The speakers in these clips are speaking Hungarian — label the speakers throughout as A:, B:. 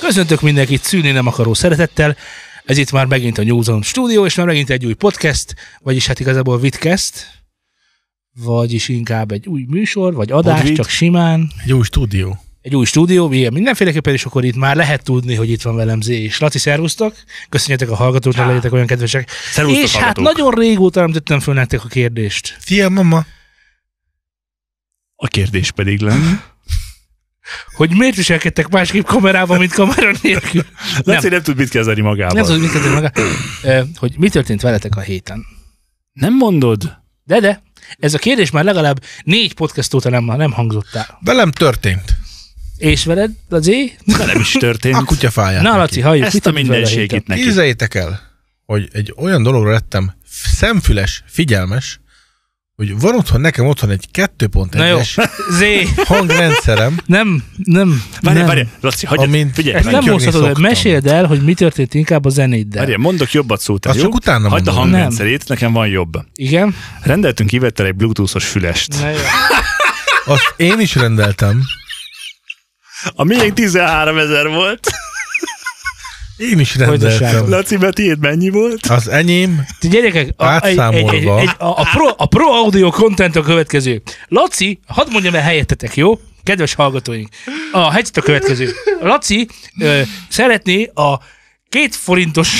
A: Köszöntök mindenkit szülni nem akaró szeretettel. Ez itt már megint a New Zone stúdió, és már megint egy új podcast, vagyis hát igazából vidcast, vagyis inkább egy új műsor, vagy adás,
B: Podvid.
A: csak simán.
C: Egy új stúdió.
A: Egy új stúdió, ilyen mindenféleképpen, és akkor itt már lehet tudni, hogy itt van velem Z és Laci, szervusztok. Köszönjetek a hallgatóknak, legyetek olyan kedvesek.
B: Szerusztok,
A: és hát nagyon régóta nem tettem föl nektek a kérdést.
C: Szia, mama!
B: A kérdés pedig lenne.
A: Hogy miért viselkedtek másképp kamerában, mint kamera nélkül?
B: Laci nem tud mit kezdeni magával.
A: Nem tudom, hogy mit tettem maga. Ö, Hogy mi történt veletek a héten?
B: nem mondod?
A: De, de, ez a kérdés már legalább négy podcast óta nem, nem hangzott el.
C: Velem történt.
A: És veled, Laci?
B: Nem is történt.
C: A kutya fáját.
A: Na,
C: Na,
A: Laci, halljuk.
B: Ezt a
A: történt veled héten?
B: mindenségét neki.
C: Képzeljétek el, hogy egy olyan dologra lettem szemfüles, figyelmes, hogy van otthon, nekem otthon egy
A: Na jó,
C: 2.1-es
A: Zé,
C: hangrendszerem,
A: nem, nem,
B: Várj,
A: nem.
B: várj, Laci, hagyj,
C: Amint-
B: figyelj,
A: Ezt nem
C: Röntgyögni
A: hozhatod, el.
C: szoktam.
A: meséld el, hogy mi történt inkább a zenéddel.
B: Várjál, mondok jobbat szót, el,
C: azt
B: jó?
C: csak utána
B: Hagyd a
C: mondom.
B: hangrendszerét, nekem van jobb.
A: Igen?
B: Rendeltünk kivettel egy bluetoothos fülest.
A: Na jó.
C: Azt én is rendeltem.
B: A miénk 13 ezer volt.
C: Én is
A: Hogyaságot.
C: rendeltem.
B: Laci, mert tiéd mennyi volt?
C: Az enyém,
A: Ti gyerekek, a, egy, egy, egy,
C: Átszámolva.
A: egy, a, a, pro, a pro audio content a következő. Laci, hadd mondjam el helyettetek, jó? Kedves hallgatóink, a helyzet a következő. Laci ö, szeretné a két forintos,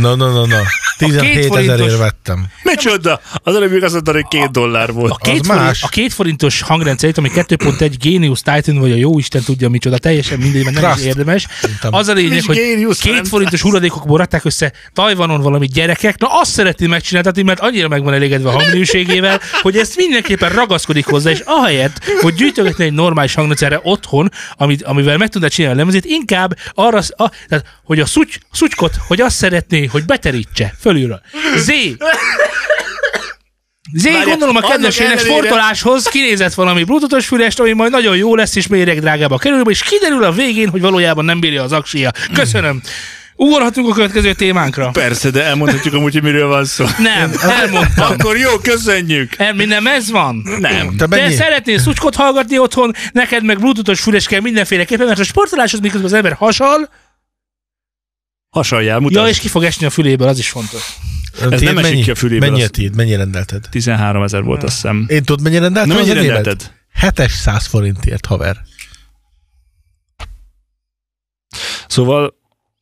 C: na na na na, 17
A: forintos-
C: ezerért vettem.
B: Micsoda? Az előbb még azt mondta, hogy két dollár
A: a
B: volt.
A: két, forint,
C: más.
A: a két forintos hangrendszerét, ami 2.1 Genius Titan, vagy a jó Isten tudja micsoda, teljesen mindegy, mert nem is
C: Trust.
A: érdemes.
C: Szerintem.
A: Az a lényeg,
B: Nincs
A: hogy
B: Genius
A: két
B: Titan.
A: forintos hulladékokból rakták össze Tajvanon valami gyerekek, na azt szeretné megcsináltatni, mert annyira meg van elégedve a hangminőségével, hogy ezt mindenképpen ragaszkodik hozzá, és ahelyett, hogy gyűjtögetne egy normális hangrendszerre otthon, amit, amivel meg tudná csinálni a lemezét, inkább arra, sz- a, tehát, hogy a szuty, szutykot, hogy azt szeretné, hogy beterítse fölülről. Zé, Zé,
B: Várjál,
A: gondolom a
B: annak
A: kedvesének
B: ellenére-
A: sportoláshoz kinézett valami bluetoothos fülest, ami majd nagyon jó lesz, és méreg drágába kerül, és kiderül a végén, hogy valójában nem bírja az aksia. Köszönöm. Ugorhatunk a következő témánkra?
B: Persze, de elmondhatjuk amúgy, hogy miről van szó.
A: Nem, elmondtam.
B: Akkor jó, köszönjük.
A: El, mi nem ez van?
B: Nem.
C: Te
A: Te
C: mennyi?
A: szeretnél szucskot hallgatni otthon, neked meg bluetoothos füles kell mindenféleképpen, mert a sportoláshoz miközben az ember hasal,
B: Hasaljál, mutasd.
A: ja, és ki fog esni a füléből, az is fontos.
C: Tiéd
B: nem esik
C: mennyi?
B: ki a füléből,
C: Mennyi a
B: az-
C: tiéd? Mennyi rendelted?
B: 13 ezer volt, azt hiszem.
C: Én tudod, mennyi rendeltem
B: Na,
C: Hát az
B: mennyire
C: enyémet?
B: rendelted?
C: 700 forintért, haver.
B: Szóval...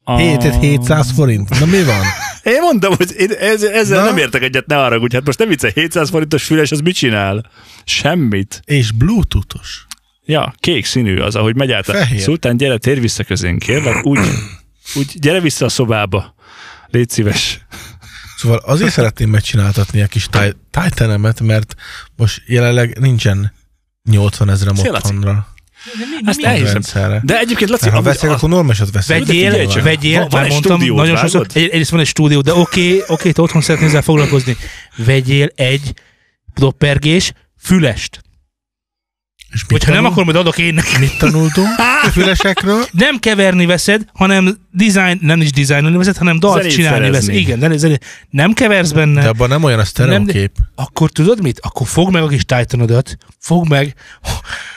B: A...
A: Ah.
C: 7 700 forint. Na mi van?
B: Én mondom, hogy én ez, ezzel
C: Na?
B: nem értek egyet, ne arra, hogy hát most nem vicce, 700 forintos füles, az mit csinál? Semmit.
C: És bluetoothos.
B: Ja, kék színű az, ahogy megy át. a-
C: Fehér.
B: Szultán, gyere, tér vissza közénk, kérlek. Úgy, úgy, gyere vissza a szobába. Légy szíves.
C: Szóval azért szeretném megcsináltatni a kis táj- tájtenemet, mert most jelenleg nincsen 80 ezerem
B: Szia, Laci.
C: otthonra.
B: Ezt elhiszem.
C: Rendszerre.
B: De egyébként, Laci,
C: Mert ha
B: amúgy-
C: veszek,
B: a-
C: akkor normálisat veszek.
A: Vegyél,
B: Szóval figyelj csak,
A: vegyél,
B: van- van
A: már
B: egy
A: mondtam,
B: stúdiód,
A: nagyon sokszor,
B: vágod?
A: egy, egyrészt van egy stúdió, de oké, okay, oké, okay, te otthon szeretnél ezzel foglalkozni. Vegyél egy doppergés fülest.
C: És mit,
A: Hogyha nem,
C: tanul-
A: akkor majd adok én neki.
C: mit tanultunk a fülesekről?
A: Nem keverni veszed, hanem design, nem is designolni veszed, hanem dalt
B: Zenét
A: csinálni
B: szerezni.
A: veszed. Igen, zenét, zenét. nem keversz benne.
C: De abban nem olyan a
A: Nem, de-
C: sztereokép.
A: Akkor tudod mit? Akkor fogd meg a kis titanodat, fogd meg,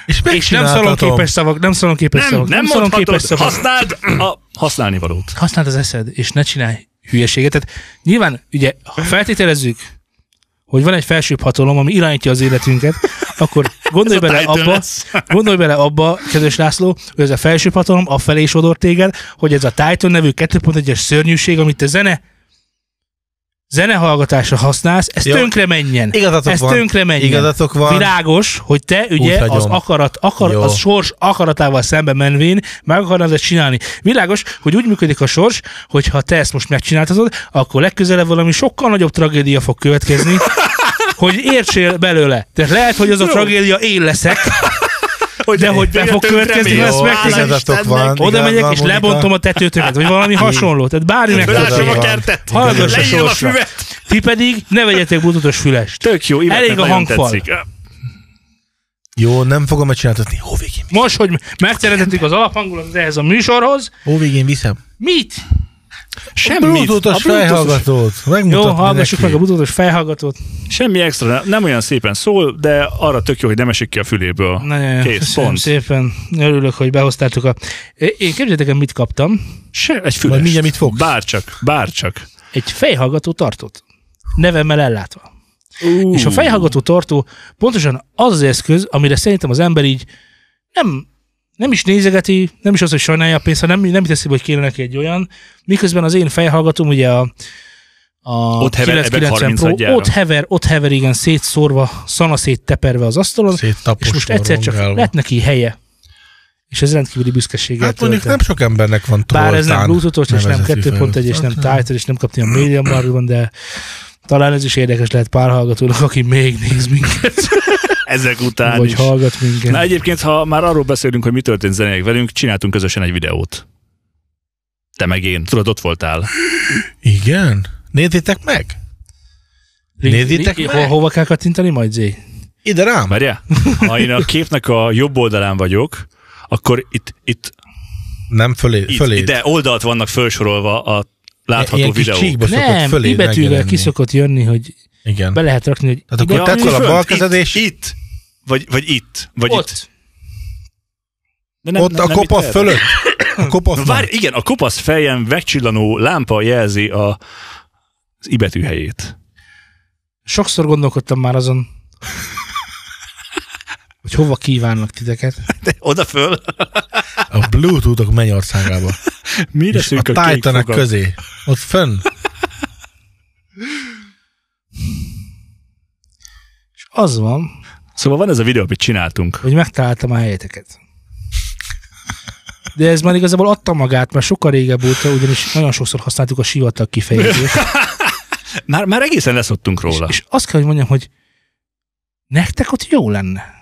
C: És
A: és nem szalonképes szavak, nem szalonképes
B: nem,
A: szavak,
B: nem, nem
A: szalonképes
B: mondhatod,
A: szavak.
B: használd a használni valót.
A: használd az eszed, és ne csinálj hülyeséget. Tehát nyilván, ugye, ha feltételezzük, hogy van egy felsőbb hatalom, ami irányítja az életünket, akkor gondolj
B: Ez a
A: bele
B: title
A: abba,
B: lesz.
A: gondolj bele abba, kedves László, hogy ez a felsőbb hatalom afelé sodor téged, hogy ez a Titan nevű 2.1-es szörnyűség, amit te zene zenehallgatásra használsz, ez
C: Jó.
A: tönkre menjen.
C: Igazatok
A: ez
C: van.
A: tönkre menjen.
C: Igazatok van.
A: Világos, hogy te ugye az
C: Úgy hagyom.
A: akarat, akar,
C: Jó.
A: az sors akaratával szembe menvén meg akarnád ezt csinálni. Világos, hogy úgy működik a sors, hogy ha te ezt most megcsináltatod, akkor legközelebb valami sokkal nagyobb tragédia fog következni, hogy értsél belőle. Tehát lehet, hogy az a
B: Jó.
A: trégédia én leszek,
B: Hogy
A: De hogy be
B: igen,
A: fog
B: tönkre
A: következni,
B: mész.
A: lesz
C: Jó,
A: meg,
B: Hála
C: igazatok
B: Istennek.
C: van.
A: oda
C: igazad
A: megyek
C: van,
A: és
C: Monika.
A: lebontom a tetőtöket, vagy valami hasonló. Tehát bármi meg
C: Igazad
B: Fölásom a
C: van.
B: kertet.
A: Hallgass a
B: Leírom a
A: sorsra.
B: füvet.
A: Ti pedig ne vegyetek bluetoothos fülest.
B: Tök jó, Ivetnek
A: Elég a
B: nagyon
A: hangfal.
B: tetszik.
C: Jó, nem fogom megcsináltatni. Hóvégén,
A: Most, hogy megteremtettük az alaphangulatot ehhez a műsorhoz,
C: hóvégén viszem.
A: mit?
B: Semmit.
C: Bluetooth-os
B: A Bluetooth-os-
C: fejhallgatót.
A: Jó,
C: Megmutatni
A: hallgassuk meg
C: neki.
A: a bluetooth fejhallgatót.
B: Semmi extra, nem olyan szépen szól, de arra tök jó, hogy nem esik ki a füléből.
A: Nagyon jó,
B: Kész,
A: köszönöm
B: pont.
A: szépen. Örülök, hogy behoztátok a... É- Én képzeljétek el, mit kaptam.
B: Se, egy
C: Majd
B: füles.
C: mindjárt mit fogsz?
B: Bárcsak, bárcsak.
A: Egy fejhallgató tartót. Nevemmel ellátva.
B: Uh.
A: És a fejhallgató tartó pontosan az az eszköz, amire szerintem az ember így nem, nem is nézegeti, nem is az, hogy sajnálja a pénzt, hanem nem, nem teszi, hogy kéne neki egy olyan. Miközben az én fejhallgatóm ugye a, a
B: Ott hever, ebek
A: 990
B: 36
A: Pro,
B: gyára.
A: ott hever, ott hever, igen, szétszórva, szanaszét teperve az asztalon,
C: Széttapos
A: és most egyszer csak lett neki helye. És ez rendkívüli büszkeséggel
C: Hát mondjuk
A: tölt el.
C: nem sok embernek van toltán.
A: Bár ez nem Bluetooth-os, és nem
C: nevezetű Hát,
A: 2.1, és nem
C: felhasználó.
A: Title, és nem kapni a Media Markban, de talán ez is érdekes lehet pár hallgatónak, aki még néz minket,
B: Ezek után
A: vagy
B: is.
A: hallgat minket.
B: Na egyébként, ha már arról beszélünk, hogy mi történt zenének velünk, csináltunk közösen egy videót. Te meg én. Tudod, ott voltál.
C: Igen? Nézzétek meg?
A: Link-
C: nézitek
A: link-
C: meg?
A: ho- Hova kell kattintani majd, Zé?
C: Ide rám?
B: Várjál? Ha én a képnek a jobb oldalán vagyok, akkor itt, itt,
C: Nem fölé,
B: itt
C: fölé.
B: ide oldalt vannak felsorolva a látható
C: Ilyen kis
B: videók.
C: csíkba szokott
A: Nem,
C: fölé
A: i betűvel
C: megjelenni.
A: ki szokott jönni, hogy
C: Igen.
A: be lehet rakni, hogy
C: Tehát akkor
B: Ja,
C: tedd fel a
B: fönt,
C: bal kezed,
B: itt,
C: és
B: Itt, vagy, vagy itt, vagy itt.
A: ott.
B: De
C: ott a
B: itt
C: kopasz
B: erre.
C: fölött. A
B: Na,
C: kopasz
B: várj, igen, a kopasz fejen megcsillanó lámpa jelzi a, az ibetű helyét.
A: Sokszor gondolkodtam már azon, hogy hova kívánnak titeket.
B: De oda föl.
C: A Bluetooth-ok mennyországába.
B: Mire
C: És a
B: szűk a, kék
C: titan
B: fogak?
C: közé. Ott fönn.
A: És az van,
B: Szóval van ez a videó, amit csináltunk.
A: hogy megtaláltam a helyeteket. De ez már igazából adta magát, mert sokkal régebb óta, ugyanis nagyon sokszor használtuk a sivatag kifejezést.
B: Már, már egészen leszoktunk róla.
A: És azt kell, hogy mondjam, hogy nektek ott jó lenne.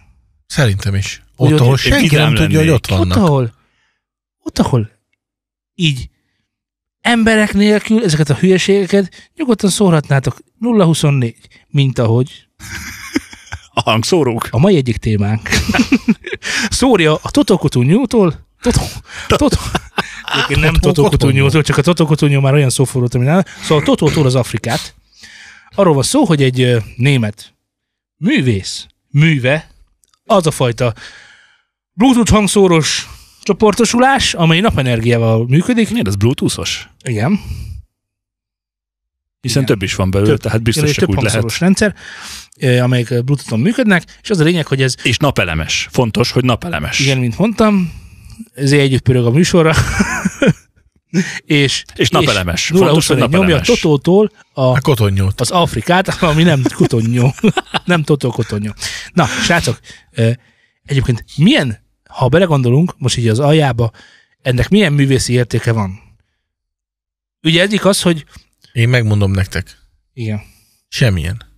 C: Szerintem is.
A: Úgy,
C: Ott, ahol
A: hogy
B: én
C: senki
B: vidám
C: nem tudja, hogy
B: lennék.
C: ott
A: Ott,
C: vannak.
A: ahol, ott, ahol így emberek nélkül ezeket a hülyeségeket nyugodtan szórhatnátok 024, mint ahogy
B: A hangszórók.
A: a mai egyik témánk. Szórja a Totokotú nyútól, Totó, Totó, Egyébként nem
C: Totó-
A: Totokotú
C: Kotonyó.
A: nyúltól, csak a Totokotú nyúl már olyan szó volt, ami nálam. Szóval a Totótól az Afrikát. Arról van szó, hogy egy ö, német művész, műve, az a fajta Bluetooth hangszóros csoportosulás, amely napenergiával működik.
B: Miért ez bluetoothos?
A: Igen,
B: Hiszen
A: Igen.
B: több is van belőle, tehát
A: igen,
B: biztos
A: és
B: csak
A: több
B: úgy lehet.
A: hangszóros rendszer, ö, amelyek ö, Bluetooth-on működnek, és az a lényeg, hogy ez
B: És napelemes. Fontos, hogy napelemes.
A: Igen, mint mondtam, ezért együtt pörög a műsorra. és,
B: És napelemes. Fontos, hogy
A: 0-24 nyomja
B: napelemes.
A: Totótól a,
C: A kotonyót.
A: az Afrikát, ami nem kotonyó. nem Totó kotonyó. Na, srácok, ö, egyébként milyen, ha belegondolunk, most így az aljába, ennek milyen művészi értéke van? Ugye egyik az, hogy
C: Én megmondom nektek.
A: igen,
C: Semmilyen.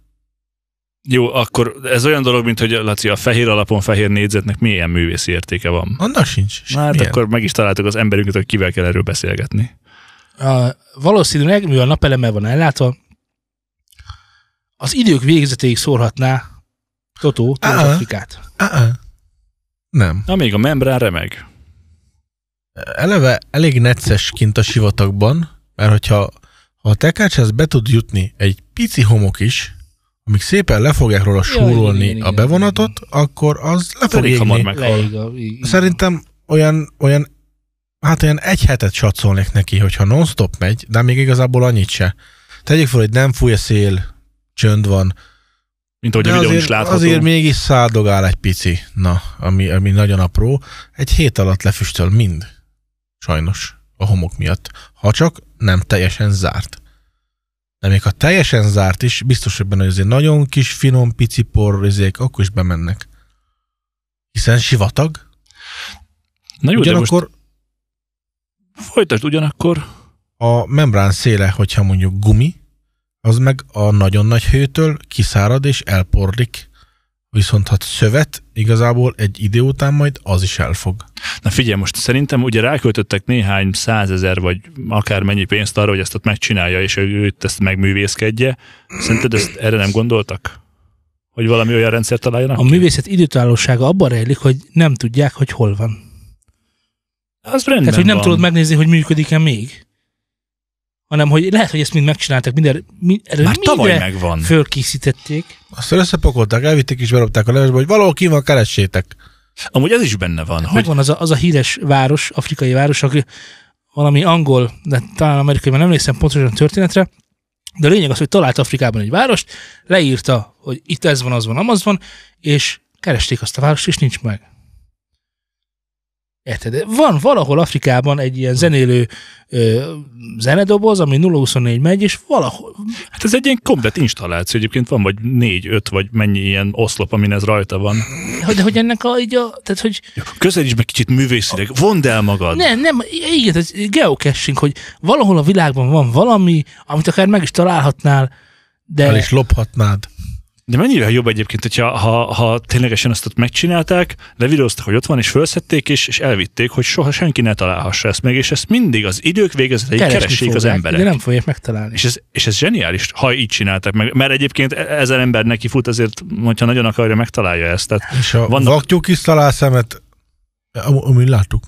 B: Jó, akkor ez olyan dolog, mint hogy Laci, a fehér alapon fehér négyzetnek milyen művészi értéke van.
C: Annak sincs.
B: Na, hát
C: Semmilyen.
B: akkor meg is találtuk az emberünket, hogy kivel kell erről beszélgetni.
A: a, valószínűleg, mivel napelemmel van ellátva, az idők végzetéig szórhatná Totó az
C: Á.
A: Afrikát.
C: Á-á. Nem.
B: Na, még a membrán remeg.
C: Eleve elég necces kint a sivatagban, mert hogyha ha a tekercshez be tud jutni egy pici homok is, amik szépen le fogják róla súrolni
A: igen, igen,
C: a bevonatot, akkor az le fog
B: Elég hamar
C: égni.
B: meg. Meghal.
A: Leég a, í-
C: Szerintem olyan, olyan, hát olyan egy hetet satszolnék neki, hogyha non-stop megy, de még igazából annyit se. Tegyük fel, hogy nem fúj a szél, csönd van,
B: Mint ahogy
C: de
B: a videón
C: azért,
B: is látható.
C: azért mégis száldogál egy pici, na, ami, ami nagyon apró. Egy hét alatt lefüstöl mind, sajnos, a homok miatt. Ha csak nem teljesen zárt. De még ha teljesen zárt is, biztos, hogy benne hogy azért nagyon kis, finom, pici porrizék, akkor is bemennek. Hiszen sivatag,
B: Na jó, de most
C: ugyanakkor
B: folytasd ugyanakkor.
C: a membrán széle, hogyha mondjuk gumi, az meg a nagyon nagy hőtől kiszárad és elporlik. Viszont ha szövet, igazából egy idő után majd az is elfog.
B: Na figyelj, most szerintem ugye ráköltöttek néhány százezer, vagy akár mennyi pénzt arra, hogy ezt ott megcsinálja, és ő ő itt ezt megművészkedje. Szerinted ezt erre nem gondoltak? Hogy valami olyan rendszert találjanak?
A: A művészet időtállósága abban rejlik, hogy nem tudják, hogy hol van.
B: Az rendben
A: Tehát, Hát, hogy nem
B: van.
A: tudod megnézni, hogy működik-e még. hanem hogy lehet, hogy ezt mind megcsináltak, minden, mi, erre
B: Már tavaly
A: mindre
B: megvan.
A: fölkészítették.
C: Aztán összepakolták, elvitték és berobták a levesbe, hogy valahol ki van, keressétek.
B: Amúgy ez is benne van,
A: Hogy
B: hogy
A: van az a, az a híres város, afrikai város, aki valami angol, de talán amerikai, mert nem emlékszem pontosan a történetre, de a lényeg az, hogy talált Afrikában egy várost, leírta, hogy itt ez van, az van, amaz van, és keresték azt a várost, és nincs meg. Érted? Van valahol Afrikában egy ilyen zenélő ö, zenedoboz, ami 024 megy, és valahol
B: hát ez egy ilyen komplet installáció. Egyébként van vagy négy, öt, vagy mennyi ilyen oszlop, amin ez rajta van.
A: hogy, hogy ennek a, így a, tehát hogy
B: Közelíts meg kicsit művészileg, vondd el magad.
A: nem, nem, igen, ez geocaching, hogy valahol a világban van valami, amit akár meg is találhatnál,
C: El
A: de
C: is lophatnád.
B: De mennyire jobb egyébként, hogyha ha, ha ténylegesen azt ott megcsinálták, levideóztak, hogy ott van, és felszették, és, és elvitték, hogy soha senki ne találhassa ezt meg, és ezt mindig az idők végezetéig
A: keresni
B: keressék az
A: fogják,
B: emberek.
A: De nem fogják megtalálni.
B: És ez, és ez zseniális, ha így csinálták meg. Mert egyébként e- ezer ember neki fut, azért, hogyha nagyon akarja, megtalálja ezt. Tehát
C: És a
B: Vannak-
C: Vannak... vaktyúk is talál szemet, am- amúgy láttuk.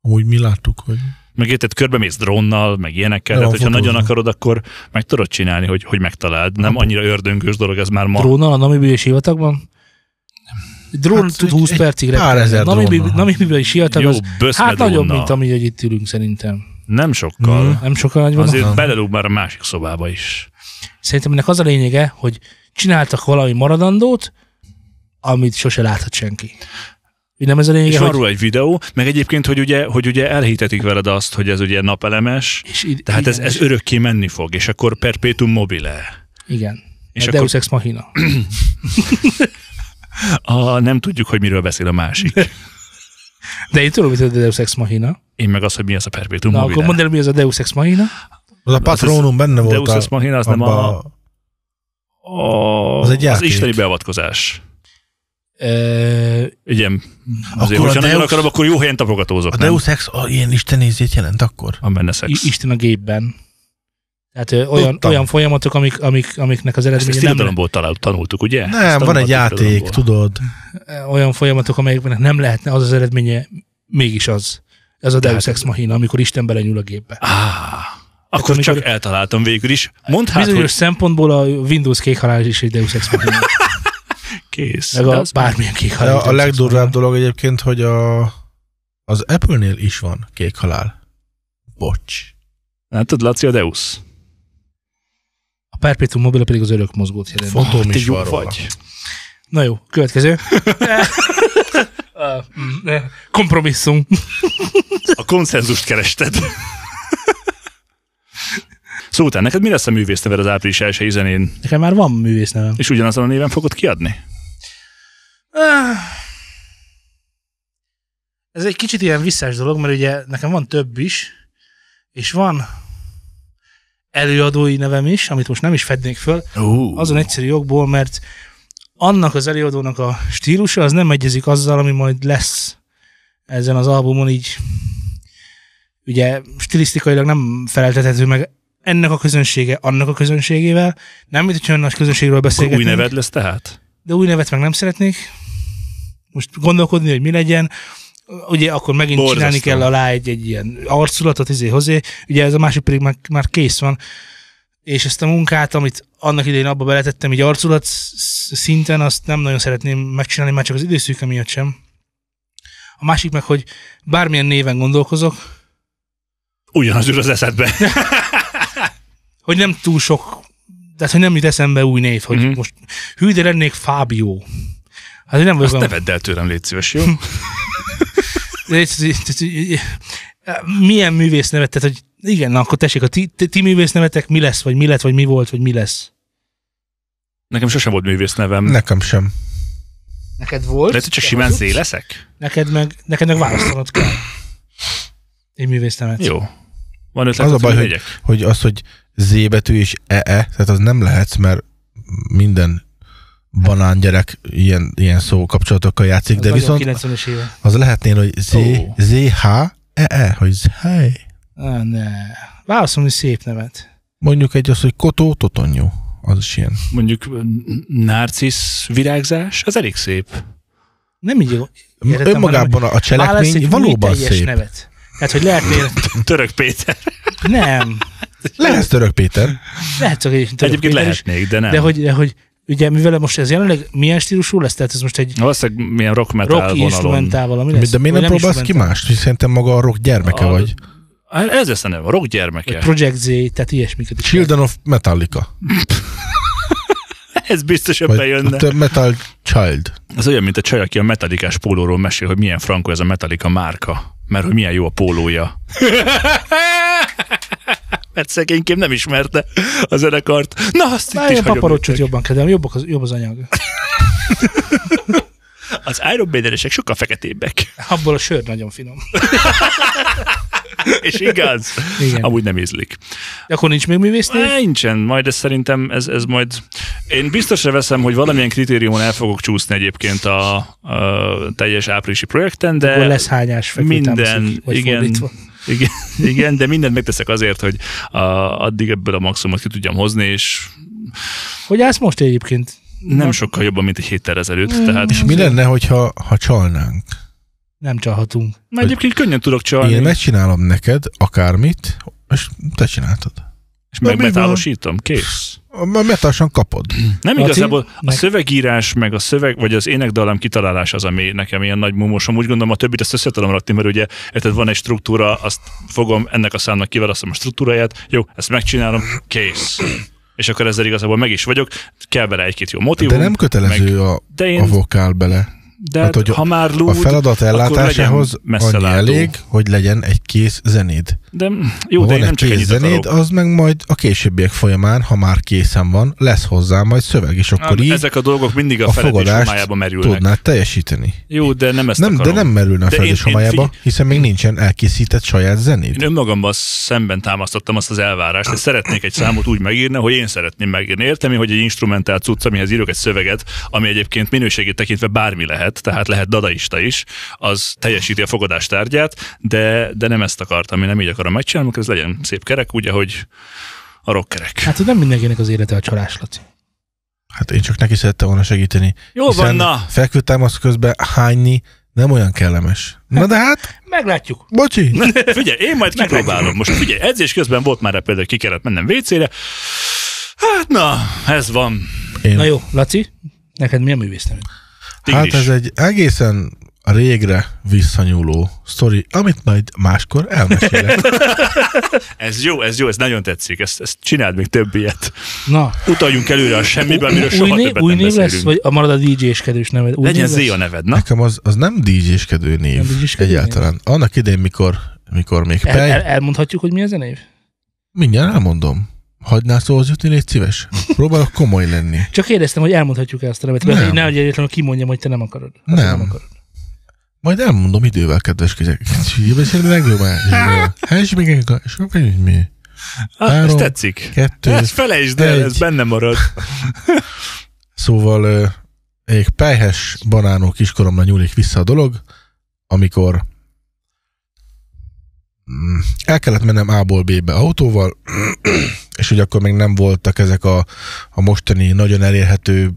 C: Amúgy mi láttuk, hogy
B: meg érted, körbemész drónnal, meg ilyenekkel.
C: Jó,
B: Tehát, hogyha
C: fotózom.
B: nagyon akarod, akkor meg tudod csinálni, hogy, hogy megtaláld.
A: Hát-
B: Nem annyira ördöngős dolog ez már ma.
A: Drónnal a namibiai sivatagban? Drón
C: Hát,
A: tud
C: egy-
A: 20
C: egy
A: percig
C: pár
A: repülni.
C: ezer
A: Namibi-
C: drónnal.
A: Namibiai sivatag
B: Jó,
A: az
B: böszme
A: hát nagyobb, mint Hmm.
B: a...
A: ami hogy itt ülünk szerintem.
B: Nem sokkal.
C: Mm.
A: Nem sokkal nagyobb. Azért...
B: Hm? Azért belelúg már a másik szobába is.
A: Szerintem ennek az a lényege, hogy csináltak valami maradandót, amit sose láthat senki. Ugye nem ez a lényege,
B: És
A: hogy
B: van róla egy videó, meg egyébként, hogy ugye, hogy ugye elhitetik veled azt, hogy ez ugye napelemes,
A: És id-
B: tehát
A: igen,
B: ez, ez
A: és-
B: örökké menni fog, és akkor perpétum mobile.
A: Igen. És
B: És
A: a
B: akkor-
A: Deus Ex Machina.
B: A, nem tudjuk, hogy miről beszél a másik.
A: De én tudom, hogy ez a Deus Ex Machina.
B: Én meg az, hogy mi az a perpétum
A: Na,
B: mobile.
A: akkor mondd el, mi az a Deus Ex Machina.
C: az a patronum benne volt.
B: Deus
C: a-
B: Ex Machina az nem
C: abba
B: a... a
C: Az egy
B: az
C: játék.
B: isteni beavatkozás.
A: Ö,
B: Igen. Azért,
C: Akkor a
B: hogyha nagyon
C: Deus-
B: akarom, akkor jó helyen tapogatózok,
C: A
B: nem?
C: Deus Ex a, ilyen istenézét jelent akkor?
B: Amiben
A: I-
B: szex.
A: Isten a gépben. Tehát ö, olyan,
C: Tudtam.
A: olyan folyamatok, amik, amik, amiknek az
B: Ezt, ezt
A: eredménye nem,
B: irodalomból talál, tanultuk, ugye? Ezt
C: Nem, van egy
B: tanulhattuk
C: játék,
B: irodalomból.
C: tudod.
A: ö, olyan folyamatok, amelyeknek nem lehetne az az eredménye, mégis az. Ez a Deus
B: Tehát-
A: Ex Machina, amikor Isten belenyúl a gépbe.
B: Á, akkor
A: amikor-
B: csak eltaláltam végül is. Mondd hát,
A: Bizonyos
B: hogy
A: szempontból a Windows kék halál is egy Deus Ex Machina.
B: kész.
A: meg
B: De
A: a
B: az-
A: bármilyen kék
C: De
A: halál. is
C: a
A: Deus Ex
C: legdurvább
A: Machina.
C: dolog egyébként, hogy a, az Apple-nél is van kék halál. Bocs.
B: Hát tudod, Laci, a Deus.
A: A Perpetuum mobile pedig az örök mozgót jelent. Hát,
C: Fotóm
B: Hát, Te
C: is
B: jó
C: van róla.
B: vagy.
A: Na jó, következő. Ö, mm, ö, Kompromisszum.
B: A konszenzust kerested. Szóval utána, neked mi lesz a művészneved az április 1 zenén?
A: Nekem már van művész nevem.
B: És ugyanazon a néven fogod kiadni?
A: Ah. Ez egy kicsit ilyen visszás dolog, mert ugye nekem van több is, és van előadói nevem is, amit most nem is fednék föl,
B: Uh.
A: azon egyszerű jogból, mert annak az előadónak a stílusa az nem egyezik azzal, ami majd lesz ezen az albumon, így ugye stilisztikailag nem feleltethető meg ennek a közönsége, annak a közönségével. Nem, mint hogyha olyan nagy közönségről beszélgetnénk.
B: Új neved lesz tehát?
A: de új nevet meg nem szeretnék. Most gondolkodni, hogy mi legyen. Ugye akkor megint
B: Borzasztó.
A: Borzasztó. csinálni kell alá egy, egy ilyen arculatot, izé hozé. Ugye ez a másik pedig már, már kész van. És ezt a munkát, amit annak idején abba beletettem, így arculat sz- szinten, azt nem nagyon szeretném megcsinálni, már csak az időszűke miatt sem. A másik meg, hogy bármilyen néven gondolkozok,
B: Ugyanaz ül az eszedbe.
A: hogy nem túl sok, tehát hogy nem jut eszembe új név, hogy
B: Mhm.
A: most hű, de lennék Fábio. Hát hogy nem vagyok
B: Azt ne
A: olyan
B: vedd el tőlem, légy szíves, jó?
A: Ez- ez- ez- ez- milyen művész nevet, tehát, hogy igen, na, akkor tessék, a ti, ti, ti művész nevetek mi lesz, vagy mi lett, vagy mi volt, vagy mi lesz?
B: Nekem sosem volt művész nevem.
C: Nekem sem.
A: Neked volt?
B: Lehet, hogy csak simán zé leszek?
A: Neked meg, neked meg választanod kell. Egy művész nevet.
B: Jó. Van ötlet,
C: Az a
B: hogy
C: baj,
B: mi
C: hogy-
B: legyek?
C: Hogy az, hogy Z betű és EE, tehát az nem lehetsz, mert minden banán gyerek ilyen, ilyen szó kapcsolatokkal játszik,
A: Az
C: de
A: nagyon
C: viszont
A: 90-es éve.
C: az lehetnél, hogy Z,
B: Ó.
C: ZH, EE, hogy hely.
A: Á, ne. Válaszolni szép nevet.
C: Mondjuk egy az, hogy Kotó, Totonyó. Az is ilyen.
B: Mondjuk n- narcisz virágzás, az elég szép.
A: Nem így jó. Értettem,
C: Önmagában a
A: hanem
C: a
A: válasz
C: cselekmény
A: egy
C: valóban
A: műteljes
C: szép.
A: nevet. Tehát, hogy lehet,
B: Török Péter.
A: nem.
C: Lehetsz török Péter.
A: Lehet, hogy egy török
B: Egyébként
A: Péter is,
B: lehetnék, de nem.
A: De hogy, de hogy ugye mivel most ez jelenleg milyen stílusú lesz, tehát ez most egy
B: Valószínűleg milyen rock metal
A: rock
B: vonalon.
A: instrumentál valami lesz?
C: De miért
A: Vagy
C: nem próbálsz ki
A: instrumentál?
C: mást? Szerintem maga a rock gyermeke
B: A-
C: vagy.
B: Hát Ez lesz a neve, a rock gyermeke.
A: Vagy Project Z, tehát ilyesmiket is.
C: Children of Metallica.
B: Ez biztos ebben
C: Vagy
B: jönne.
C: a Metal Child.
B: Ez olyan, mint a csaj, aki a metalikás pólóról mesél, hogy milyen frankó ez a metalika márka, mert hogy milyen jó a pólója. mert szegénykém nem ismerte a zenekart. Na, azt itt
A: Már
B: is
A: ilyen
B: hagyom
A: paparocsot
B: nektek.
A: jobban kedvelem, jobbak az, jobb az anyag.
B: Az Iron Maidenesek sokkal feketébbek.
A: Abból a sör nagyon finom.
B: És igaz?
A: Igen.
B: Amúgy nem ízlik.
A: De akkor nincs még művésznél?
B: Á, Nincsen, majd ez szerintem, ez, ez majd... Én biztosra veszem, hogy valamilyen kritériumon el fogok csúszni egyébként a, a teljes áprilisi projekten, de...
A: Akkor lesz hányás
B: minden,
A: vagy
B: igen,
A: fordítva.
B: igen, igen, de mindent megteszek azért, hogy a, addig ebből a maximumot ki tudjam hozni, és
A: Hogy állsz most egyébként?
B: nem sokkal jobban, mint egy héttel ezelőtt.
A: Mm.
B: Tehát,
C: És mi lenne, hogyha, ha csalnánk?
A: Nem csalhatunk.
B: Na, egyébként könnyen tudok csalni,
C: Én
B: meg,
C: megcsinálom neked akármit, és te csináltad.
B: és
C: Na, mi van?
B: megmetálosítom, kész.
C: Mert metásan kapod.
B: Nem
A: Laci,
B: igazából a
A: meg-
B: szövegírás, meg a szöveg, vagy az énekdallam kitalálás az, ami nekem ilyen nagy mumosom. Úgy gondolom, a többit azt össze tudom rakni, mert ugye érted, van egy struktúra, azt fogom, ennek a számnak kiválasztom a struktúráját, jó, ezt megcsinálom, kész. És akkor ezzel igazából meg is vagyok, kell bele egy-két jó motivum.
C: De nem kötelező a,
B: de én,
C: a vokál bele.
B: de hát,
C: hát, hogy
B: ha már lúd,
C: A feladat ellátásához
B: legyen
C: annyi
B: messzelátó.
C: elég, hogy legyen egy kész zenéd.
B: de jó,
C: ha
B: de
C: van
B: én nem
C: egy
B: csak
C: kész
B: ennyit
C: zenéd,
B: akarok.
C: az meg majd a későbbiek folyamán, ha már készen van, lesz hozzá majd szöveg, és akkor így
B: Ezek a dolgok mindig a,
C: a
B: a feledés
C: fogadást
B: homályába merülnek.
C: tudnád teljesíteni.
B: Jó, de nem ezt
C: Nem, de
B: akarom.
C: nem merülne a
B: De én-
C: felzés
B: én
C: homályába,
B: figy-
C: hiszen még nincsen elkészített saját zenéd.
B: Én önmagamban szemben támasztottam azt az elvárást, hogy szeretnék egy számot úgy megírni, hogy én szeretném megírni. Értem én, hogy egy instrumentál cucc, amihez írok egy szöveget, ami egyébként minőségét tekintve bármi lehet, tehát lehet dadaista is, az teljesíti a fogadás tárgyát, de, de nem ezt akartam, én nem így akarom megcsinálni, akkor ez legyen szép kerek, ugye, hogy a rockkerek.
A: Hát hogy nem mindenkinek az élete a csalás, Laci.
C: Hát én csak neki szerettem volna segíteni.
B: Jó van, na!
C: Fekvőtámasz közben hányni nem olyan kellemes. Na de hát,
A: Meglátjuk.
C: bocsi!
B: Figyelj, én majd kipróbálom. Most figyelj, edzés közben volt már rá például, ki kellett mennem WC-re. Hát na, ez van.
C: Én,
A: Na jó, Laci, neked mi a művésznél?
B: Tigris.
C: hát ez egy egészen régre visszanyúló sztori, amit majd máskor elmesélek.
B: Ez jó, ez jó, ez nagyon tetszik. Ezt, ezt csináld még több ilyet.
A: Na,
B: Utaljunk előre a semmibe, amiről
A: új,
B: soha
A: né-
B: többet
A: új
B: nem
A: név
B: beszélünk.
A: lesz, vagy a marad a DJ-skedős neved? Új
B: Legyen
A: név lesz?
B: Z a neved, na?
C: Nekem az, az nem DJ-skedő név
A: Nem DJ-skedő név?
C: egyáltalán. Annak idén, mikor, mikor még
A: El, el,
C: pej,
A: elmondhatjuk, hogy mi ez a név?
C: mindjárt elmondom. Hagynál szóhoz jutni, légy szíves. Próbálok komoly lenni.
A: Csak kérdeztem, hogy elmondhatjuk -e azt a nevet.
C: Nem.
A: Nem. Nehogy egyetlenül kimondjam, hogy te nem akarod. Hát,
C: Nem.
A: akarod.
C: Majd elmondom idővel, kedves kizek. Beszélni legjobb már. Helyes még egy mi?
B: Ah, ez
C: Három,
B: tetszik.
C: Kettő.
B: Ezt felejtsd el, ez
C: egy.
B: benne marad.
C: Szóval ö, egy pelyhes banánó kiskoromra nyúlik vissza a dolog, amikor mm, el kellett mennem A-ból B-be autóval, és hogy akkor még nem voltak ezek a, a mostani nagyon elérhető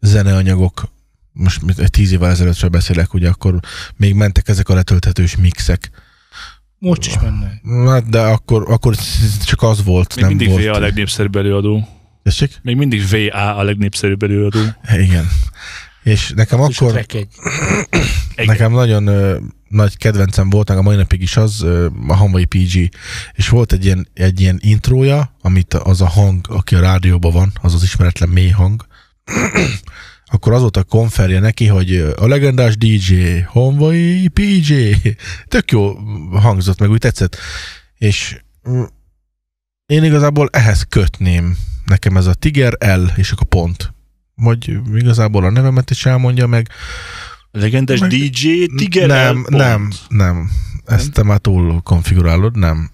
C: zeneanyagok, most mit- egy tíz évvel ezelőttről beszélek, ugye akkor még mentek ezek a letölthetős mixek.
A: Most is menne.
C: Hát, de akkor, akkor csak az volt,
B: Még
C: nem
B: mindig
C: volt.
B: VA a legnépszerűbb előadó.
C: Tessék?
B: Még mindig VA a legnépszerűbb előadó.
C: Igen. És nekem
A: És a
C: akkor...
A: track egy.
B: Egy-
C: Nekem nagyon ö, nagy kedvencem volt, meg a mai napig is az, ö, a Hanvai PG, és volt egy ilyen, egy ilyen intrója, amit az a hang, aki a rádióban van, az az ismeretlen mély hang, akkor az volt a konferje neki, hogy ö, a legendás DJ, Hanvai PG, tök jó hangzott, meg úgy tetszett, és mm, én igazából ehhez kötném, nekem ez a Tiger L, és akkor pont. Vagy igazából a nevemet is elmondja meg,
B: Legendes
C: meg-
B: DJ Tiger L.
C: nem,
B: Pont.
C: nem, nem. Ezt te már túl konfigurálod, nem.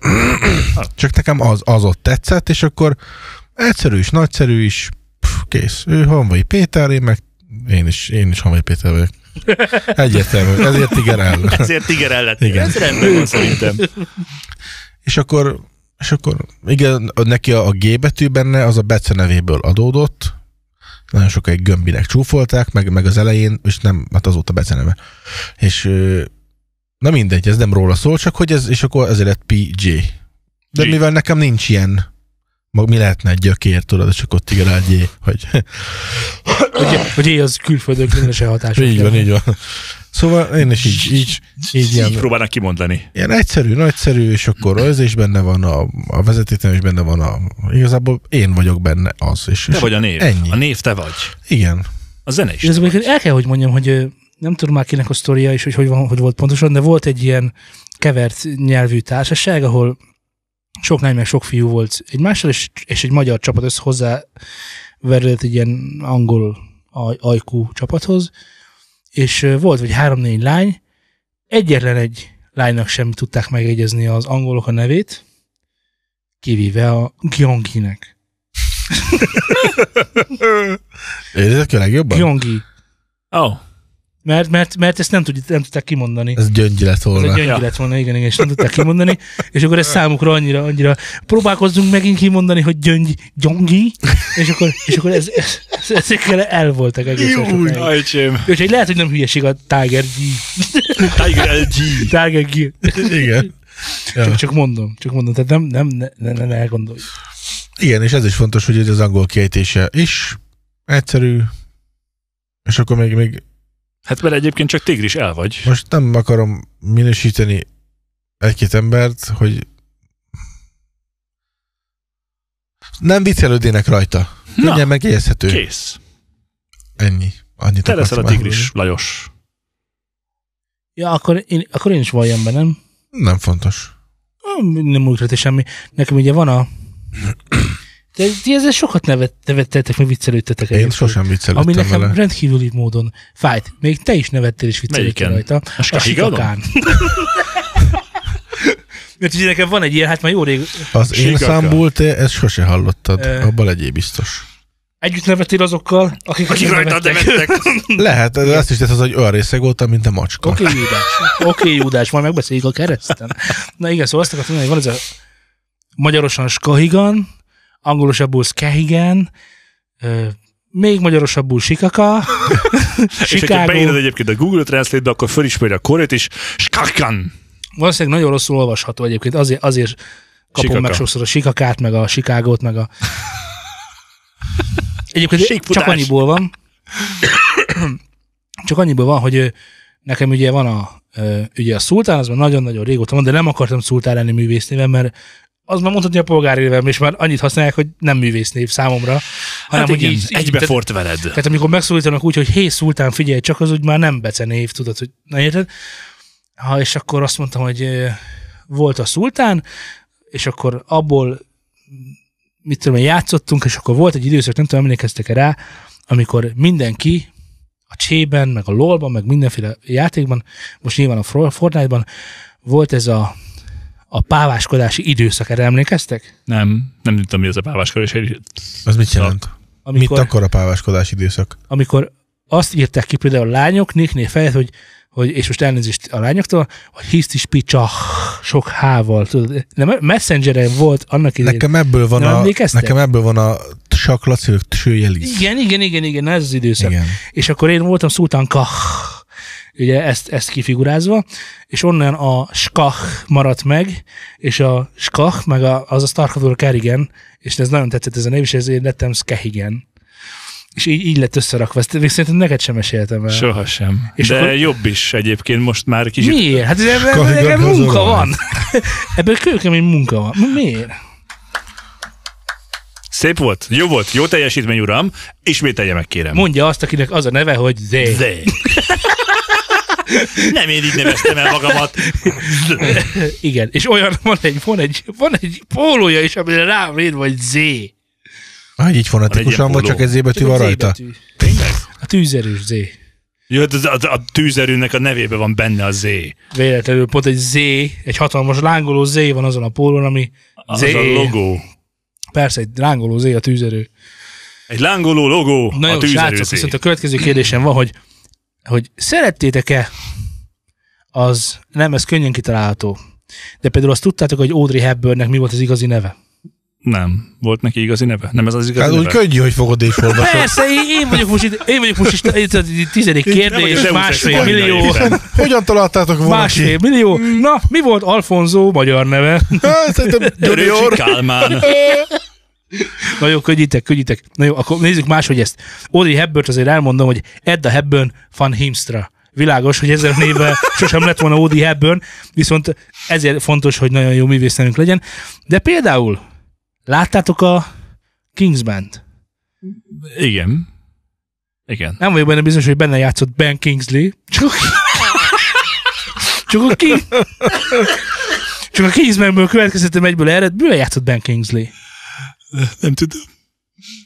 C: Csak nekem az, az ott tetszett, és akkor egyszerű is, nagyszerű is, pff, kész. Ő Hanvai Péter, én meg én is, én is Hanvai Péter vagyok. Egyértelmű, ezért igen el.
B: Ezért Tiger L lett.
C: Igen.
B: Ez rendben van szerintem.
C: És akkor, és akkor igen, neki a, a G betű benne, az a Bece nevéből adódott, nagyon sokáig gömbinek csúfolták, meg, meg az elején, és nem, hát azóta Bece neve. És ö, na mindegy, ez nem róla szól, csak hogy ez, és akkor ezért lett PJ. De
B: G.
C: mivel nekem nincs ilyen, mag mi lehetne egy gyökér, tudod, csak ott igen egy J, hogy
A: Hogy, hogy éj az külföldön különösen hatásos.
C: így van, így van. Szóval én is így, így, így
B: Így
C: ilyen,
B: próbálnak kimondani.
C: ilyen egyszerű, nagyszerű, és akkor az is benne van, a, a vezetéknél is benne van, a, igazából én vagyok benne az. És,
B: Te
C: és
B: vagy a név.
C: Ennyi.
B: A név te vagy.
C: Igen.
B: A zene is.
A: És ez még el kell, hogy mondjam, hogy ö, nem tudom már kinek a sztoria is, hogy hogy, van, hogy volt pontosan, de volt egy ilyen kevert nyelvű társaság, ahol sok lány meg sok fiú volt egymással, és, és egy magyar csapat össze hozzá verült egy ilyen angol aj, ajkú csapathoz, és ö, volt vagy három-négy lány, egyetlen egy lánynak sem tudták megegyezni az angolok a nevét, kivéve a Gyeonginek.
C: Érzed a legjobban?
A: Gyeongi.
B: Ó, oh,
A: Mert, mert, mert ezt nem, tud, nem tudták kimondani.
C: Ez gyöngy lett
A: Ez egy
C: volna.
A: gyöngy lett volna, igen, igen, és nem tudták kimondani. És akkor ez számukra annyira, annyira próbálkozzunk megint kimondani, hogy gyöngy, gyongi, és akkor, és akkor ez, ez, ez, ezekkel el voltak egészen sokáig.
B: ajcsém.
A: Úgyhogy lehet, hogy nem hülyeség a Tiger G.
B: Tiger LG.
A: Tiger G.
C: Igen.
A: Csak, csak mondom, csak mondom, tehát nem, nem, ne, ne, ne, ne elgondolj.
C: Igen, és ez is fontos, hogy ez az angol kiejtése is egyszerű, és akkor még, még
B: Hát mert egyébként csak tigris el vagy.
C: most nem akarom minősíteni egy-két embert, hogy nem viccelődének rajta.
B: Na.
C: Könnyen megjegyezhető.
B: Kész.
C: Ennyi. Annyit
B: Te leszel a
C: akartam
B: tigris, Lajos.
A: Ja, akkor én, akkor én is valljam be, nem?
C: elmondani. Nem fontos.
A: Nem ugrati semmi. Nekem ugye van a... De ti ezzel sokat nevet, nevettetek, meg viccelődtetek.
C: Én
A: egyébként.
C: sosem
A: Ami
C: viccelődtem
A: nekem
C: vele.
A: rendkívüli módon fájt. Még te is nevettél és viccelődtél
B: Melyiken?
A: rajta.
B: A skahigadon?
A: sikakán. Mert ugye nekem van egy ilyen, hát már jó rég
C: Az én
B: Sikaka.
C: számból te ezt sose hallottad.
A: Ö.
C: Abba legyél biztos.
A: együtt nevettél azokkal, akik,
B: Akik rajta nevettek.
C: Lehet, de azt is tesz az, hogy olyan részeg voltam, mint a macska.
A: Oké, Júdás. Oké, Júdás, majd megbeszéljük a kereszten. Na igen, szóval azt akartam mondani, hogy van ez a magyarosan skahigan, angolosabbul skahigan, ö, még magyarosabbul sikaka,
B: És hogyha beírod
A: Chicago.
B: egyébként a Google Translate-be, akkor fölismeri a korét is. Skakan.
A: Valószínűleg nagyon rosszul olvasható egyébként, azért, azért kapom
B: Sikaka.
A: meg sokszor a sikakát, meg a sikágót, meg a... Egyébként
B: Síkfutás.
A: csak annyiból van, csak annyiból van, hogy ö, nekem ugye van a, ö, ugye a szultán, az már nagyon-nagyon régóta van, de nem akartam szultán lenni művésznéven, mert az már mondhatni a polgári évem, és már annyit használják, hogy nem művésznév számomra, hanem
B: Hát
A: hogy
B: igen,
A: így, így tehát-
B: egybefort veled.
A: tehát amikor megszólítanak úgy, hogy hé, szultán, figyelj, csak az úgy már nem becenév, tudod, hogy na érted? Ha, és akkor azt mondtam, hogy ö, volt a szultán, és akkor abból mit tudom, én, játszottunk, és akkor volt egy időszak, nem tudom, emlékeztek-e rá, amikor mindenki a csében, meg a lolban, meg mindenféle játékban, most nyilván a Fro- Fortnite-ban volt ez a, a páváskodási időszak, erre emlékeztek?
B: Nem, nem tudtam, mi az a páváskor, és egy-
C: Az mit jelent? Mit
A: Amikor,
C: akkor a páváskodás időszak?
A: amikor azt írták ki például a lányok, nékné fejet, hogy, hogy, és most elnézést a lányoktól, hogy hiszt is picsa, sok hával, tudod. Nem, messengeren volt annak idején.
C: Nekem ebből van
A: Nem
C: a,
A: emlékeztek?
C: nekem ebből van a Sak Laci, vagy Tsőjelisz.
A: Igen, igen, igen, igen, na ez az időszak. Igen.
C: Igen.
A: És akkor én voltam Szultán Kach, ugye ezt, ezt kifigurázva, és onnan a skach maradt meg, és a skach, meg a, az a Starcraft Kerigen, és ez nagyon tetszett ez a név, és ezért lettem Skehigen. És így, így lett összerakva. Ezt még szerintem neked sem meséltem el.
B: Sohasem.
A: És
B: De
A: akkor-
B: jobb is egyébként, most már kicsit
A: Miért? Hát ez ebben,
C: Kahigan
A: ebben munka
C: hazudom.
A: van. Ebből kőkemény munka van. Miért?
B: szép volt, jó volt, jó teljesítmény, uram. Ismételje meg, kérem.
A: Mondja azt, akinek az a neve, hogy Zé.
B: De. Nem én így neveztem el magamat.
A: Igen, és olyan van egy, van egy, van egy pólója is, amire rám ír, vagy Z.
C: Ah, így
B: Van egy
C: fonetikusan,
B: ilyen
C: vagy csak
B: póló.
C: ez betű
A: Csak a
C: van
A: Z
C: rajta?
A: betű.
B: Tényleg?
A: A tűzerős Z.
B: Jó, hát az- az- a tűzerőnek a nevébe van benne a Z.
A: Véletlenül pont egy Z, egy hatalmas lángoló Z van azon a pólón, ami
B: Az
A: Z.
B: a logó.
A: Persze, egy lángoló Z a tűzerő.
B: Egy lángoló logó
A: Na
B: a
A: jó,
B: tűzerő
A: srácok,
B: Z.
A: viszont a következő kérdésem van, hogy, hogy szerettétek-e az, nem, ez könnyen kitalálható, de például azt tudtátok, hogy Audrey Hepburnnek mi volt az igazi neve?
B: Nem. Volt neki igazi neve? Nem ez az igazi
C: Hát
B: neve?
C: úgy könnyű, hogy fogod és olvasod.
A: Persze, én, én vagyok most itt, én vagyok most itt, itt a tizedik
B: vagyok
A: kérdés,
B: Deus Ex
A: másfél
B: Machina
A: millió.
B: éppen.
C: Hogyan találtátok volna
A: Másfél
C: ki?
A: millió. Na, mi volt Alfonso magyar neve?
C: Hát, Szerintem
B: Törőcsik
C: Junior.
B: Kálmán.
A: Na jó, könnyítek, könnyítek. Na jó, akkor nézzük máshogy ezt. Audrey hepburn azért elmondom, hogy Edda Hepburn van Himstra. Világos, hogy ezzel a névvel sosem lett volna Audrey Hepburn, viszont ezért fontos, hogy nagyon jó művésznevünk legyen. De például, láttátok a Kingsman-t?
B: Igen. Igen.
A: Nem vagyok benne biztos, hogy benne játszott Ben Kingsley. Csak a, csak a, King... csak a Kingsmanből következettem egyből erre, bőle játszott Ben Kingsley.
B: Nem tudom.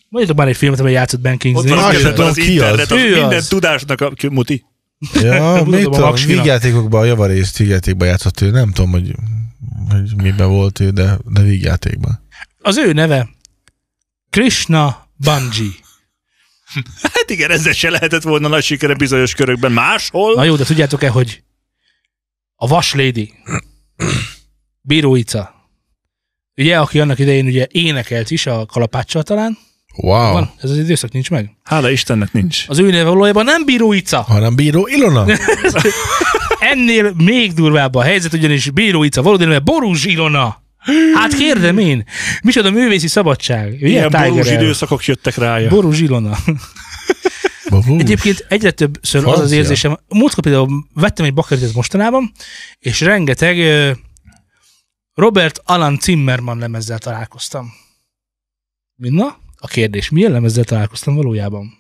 A: Mondjatok már egy filmet, amiben játszott Ben
B: Ott
A: Kingsley.
B: van
C: Én
B: az,
C: sem
B: az,
C: tudom,
B: az
C: ki az.
B: internet, az,
A: Ő az.
B: minden tudásnak a ki- muti.
C: Ja,
A: Tudom,
C: mit
A: a
C: tudom,
A: Maxinak.
C: vígjátékokban a javarészt vígjátékban játszott ő, nem tudom, hogy, hogy miben volt ő, de, de vígjátékban.
A: Az ő neve Krishna Banji.
B: Hát igen, ezzel se lehetett volna nagy sikere bizonyos körökben.
A: Na
B: Máshol?
A: jó, de tudjátok-e, hogy a Vaslédi, Bíróica, ugye, aki annak idején ugye énekelt is a kalapáccsal talán,
C: Wow.
A: van, ez az időszak nincs meg.
B: Hála Istennek nincs.
A: Az ő neve valójában nem Bíróica,
C: Hanem bíró Ilona?
A: ennél még durvább a helyzet, ugyanis Bíróica valódi neve Borúzs Ilona. Hát kérdem én, micsoda művészi szabadság. Ugye,
B: Ilyen
A: Tiger
B: borús
A: Air.
B: időszakok jöttek rája.
A: Borúzs Ilona.
C: Bahu.
A: Egyébként egyre többször az az
C: Francia.
A: érzésem, múltkor például vettem egy bakkertet mostanában, és rengeteg ö, Robert Alan Zimmerman lemezzel találkoztam. Mint Na, a kérdés, milyen lemezzel találkoztam valójában?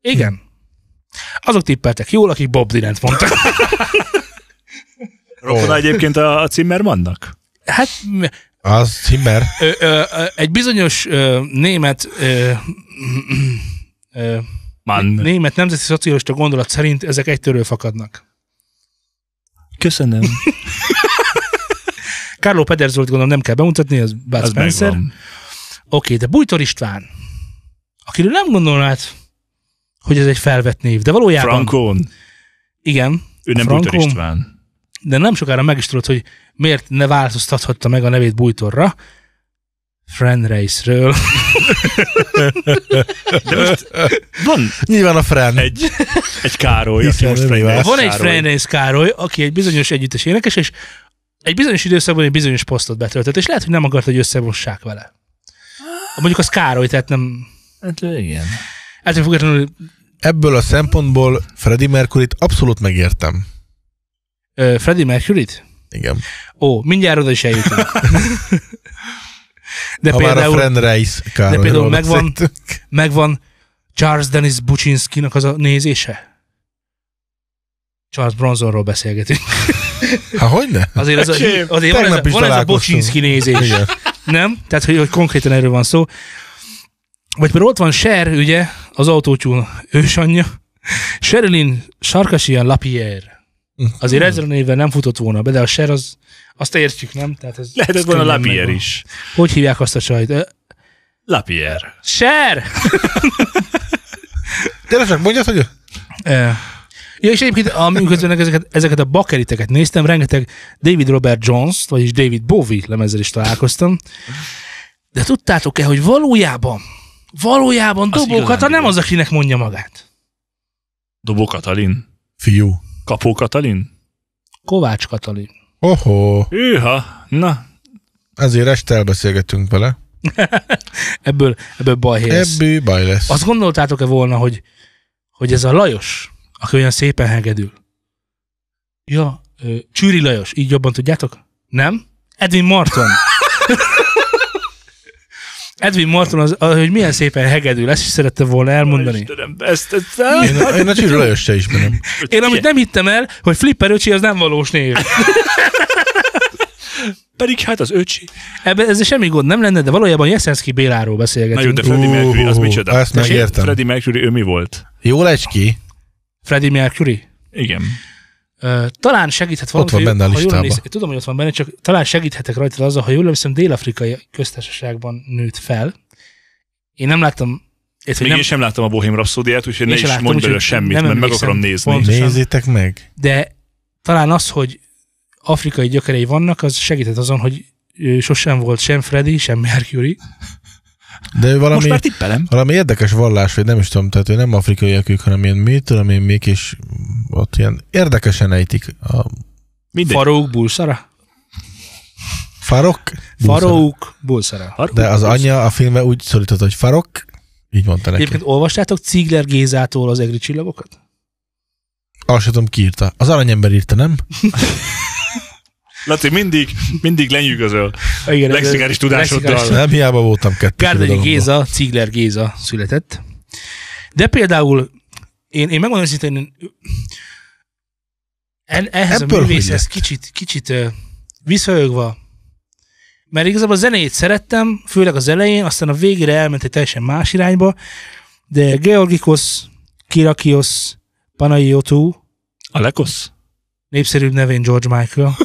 A: Igen. Azok tippeltek jól, akik Bob Dylan-t mondtak.
B: Rokona egyébként a, a Zimmermannnak?
A: Hát m-
C: Az Timmer.
A: ö, ö, ö, egy bizonyos ö, német ö, ö,
B: Mann.
A: német nemzeti szocialista gondolat szerint ezek egytől fakadnak.
B: Köszönöm.
A: Carlo Pederzolt gondolom nem kell bemutatni, az Bud
B: Az
A: Spencer.
B: megvan.
A: Oké, de Bújtor István, akiről nem gondolnád, hogy ez egy felvett név, de valójában...
B: Frankon.
A: Igen.
B: Ő
A: a
B: nem Bújtor
A: Frankó,
B: István.
A: De nem sokára meg is tudod, hogy miért ne változtathatta meg a nevét Bújtorra. Fran Race-ről.
B: Van
C: Nyilván a Fran.
B: egy, egy Károly, aki
C: Hiszen
B: most
C: ő
B: Fran
C: vált.
B: Race
A: Van egy
B: Károly.
A: Fran Race Károly, aki egy bizonyos együttes énekes, és egy bizonyos időszakban egy bizonyos posztot betöltött, és lehet, hogy nem akart, hogy összevossák vele. Mondjuk az Károly, tehát nem...
B: Hát igen.
A: Ettől függetlenül
C: Ebből a szempontból Freddie Mercury-t abszolút megértem.
A: ö, Freddie Mercury-t?
C: Igen.
A: Ó, mindjárt oda is eljutunk. De
C: Ha már a
A: például,
C: Fran Reis Károlyról
A: például megvan-
C: beszéltünk.
A: megvan Charles Dennis Bucsinski-nak az a nézése? Charles Bronsonról beszélgetünk.
C: Há, hogy ne?
A: Azért, ez a,
B: Öcsém,
A: azért van, ez a,
C: tegnap is
A: van ez a
C: találkoztunk.
A: Bucsinski nézés,
C: Igen.
A: nem? Tehát, hogy, hogy konkrétan erről van szó. Vagy például ott van Cher, ugye, az autótyún ősanyja. Sherilyn Sarkasian Lapierre. Azért
C: Mhm.
A: ezzel a névvel nem futott volna be, de a Cher az, azt értjük, nem? Tehát ez,
B: Lehetett
A: ez
B: volna
A: könnyen
B: Lapierre
A: megvan.
B: is.
A: Hogy hívják azt a csajt? Ö,
B: Lapierre.
A: Ser!
C: Tényleg csak mondjad, hogy
A: Ja, és egyébként, amiközben ezeket, ezeket a bakeriteket néztem, rengeteg David Robert Jones, vagyis David Bowie lemezzel is találkoztam. De tudtátok-e, hogy valójában, valójában
B: Az
A: Dobó
B: igazán
A: Kata nem
B: igaz.
A: az, akinek mondja magát.
B: Dobó Katalin.
C: fiú.
B: Kapó Katalin.
A: Kovács Katalin.
C: Oho,
B: Őha. Na.
C: ezért este elbeszélgetünk vele.
A: Ebből, ebből baj
C: Yes.
A: helyez.
C: Ebből baj lesz.
A: Azt gondoltátok-e volna, hogy, hogy ez a Lajos, aki olyan szépen hegedül? Ja, ö, Csűri Lajos, így jobban tudjátok? Nem? Edwin Marton. Edwin Marton, az, az, hogy milyen szépen hegedül, ezt is szerettem volna elmondani.
B: Istenem, ezt, ezt,
C: Én, a- én a Csirő Lajos se ismerem.
A: Én amit nem hittem el, hogy Flipper öcsi az nem valós név.
B: Pedig hát az öcsi.
A: Ebben ez semmi gond nem lenne, de valójában Jeszenszki Béláról
B: Na jó,
A: beszélgetünk.
B: de Freddie Mercury, az micsoda?
C: Ezt
B: Tessék,
C: megértem.
B: Freddie Mercury, ő mi volt?
C: Jó lecski.
A: Freddie Mercury.
B: Igen.
A: Ö, talán segíthet valami.
C: van
A: ha
C: benne a
A: jól
C: listában.
A: emlékszem- Tudom, hogy ott van benne, csak talán segíthetek rajta azzal, ha jól emlékszem, dél-afrikai köztársaságban nőtt fel. Én nem láttam, ez, hogy
B: Még
A: nem,
B: én sem láttam a Bohém Rhapsodiát, úgyhogy
A: Én
B: ne is
A: sem láttam,
B: mondj belőle
A: úgyhogy
B: semmit,
A: nem
B: mert meg
A: emlékszem.
B: akarom nézni.
A: Pont.
C: Nézzétek meg.
A: de talán az, hogy afrikai gyökerei vannak, az segíthet azon, hogy ö, sosem volt sem Freddy, sem Mercury.
C: De ő
B: Most
C: valami,
B: már tippelem.
C: valami érdekes vallás, vagy nem is tudom, tehát ő nem afrikaiak ők, hanem ilyen mit tudom én, még is ott ilyen érdekesen ejtik a
B: Mindegy.
A: Farouk Bulsara?
C: farok.
A: Farouk Bulsara.
B: Farkú?
C: De az anyja a filmben úgy szólított, hogy farok, így mondta neki.
A: Egyébként olvastátok Ziegler Gézától az egri csillagokat?
C: Azt sem tudom, ki írta. Az aranyember írta, nem?
B: Laci, mindig, mindig lenyűgözöl.
A: Igen, ez-
B: Lexikális tudásoddal.
A: lexikális-
C: Nem hiába voltam kettő.
A: Gárdonyi
C: irodalomban.
A: Géza, Cigler Géza született. De például, én, én megmondom őszintén, én- en, ehhez
C: Ebből
A: Ebből a
C: hogy
A: művészhez
C: lett?
A: kicsit, kicsit ö, visszajögva, mert igazából a zenét szerettem, főleg az elején, aztán a végére elment egy teljesen más irányba, de Georgikos, Kirakios, Panayiotou,
B: A lekosz?
A: népszerűbb nevén George Michael,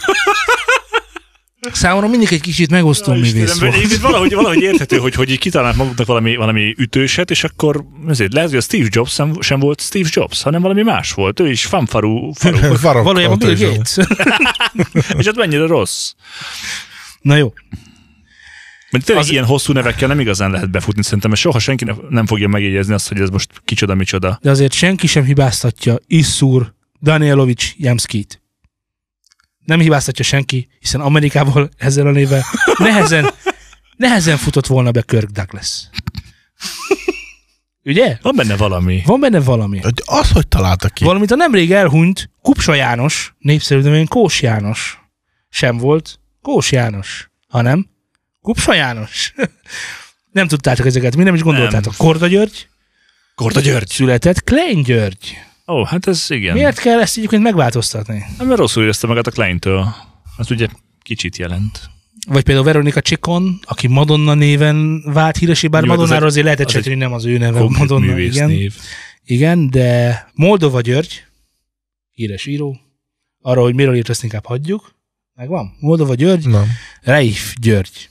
A: számomra mindig egy kicsit megosztó művész
B: Istenem,
A: volt.
B: így- így valahogy, valahogy érthető, hogy, hogy így kitalált maguknak valami, valami ütőset, és akkor ezért lehet, hogy a Steve Jobs sem, sem volt Steve Jobs, hanem valami más volt. Ő is fanfarú, farú.
C: Farok.
A: Valójában
C: mondta
A: Bill
C: is,
A: Gates.
B: és hát mennyire rossz.
A: Na jó.
B: Mert tényleg
A: Az-
B: az... ilyen hosszú nevekkel nem igazán lehet befutni, szerintem, mert soha senki ne- nem fogja megjegyezni azt, hogy ez most kicsoda, micsoda.
A: de azért senki sem hibáztatja Iszur Danielovics Jamskit. Nem hibáztatja senki, hiszen Amerikából ezzel a nével nehezen, nehezen futott volna be Kirk Douglas. Ugye?
B: Van benne valami.
A: Van benne valami.
C: Hogy az, hogy találta ki.
A: Valamint a nemrég elhunyt Kupsa János, népszerű nevén Kós János. Sem volt Kós János, hanem Kupsa János. Nem tudtátok ezeket, mi nem is gondoltátok. Korda György
B: Korda György.
A: született Klein György.
B: Ó, hát ez igen.
A: Miért kell ezt egyébként megváltoztatni?
B: Hát, mert rosszul érezte magát a Kleintől. Az ugye kicsit jelent.
A: Vagy például Veronika Csikon, aki Madonna néven vált híresé, bár
B: Jó, hát az
A: Madonnáról
B: egy-
A: azért lehetett
B: az
A: sejteni, hogy nem az ő neve
B: Konkrét
A: Madonna, igen.
B: művésznév.
A: igen, de Moldova György, híres író, arra, hogy miről írt, azt inkább hagyjuk. Megvan? Moldova György,
C: Nem.
A: Reif György.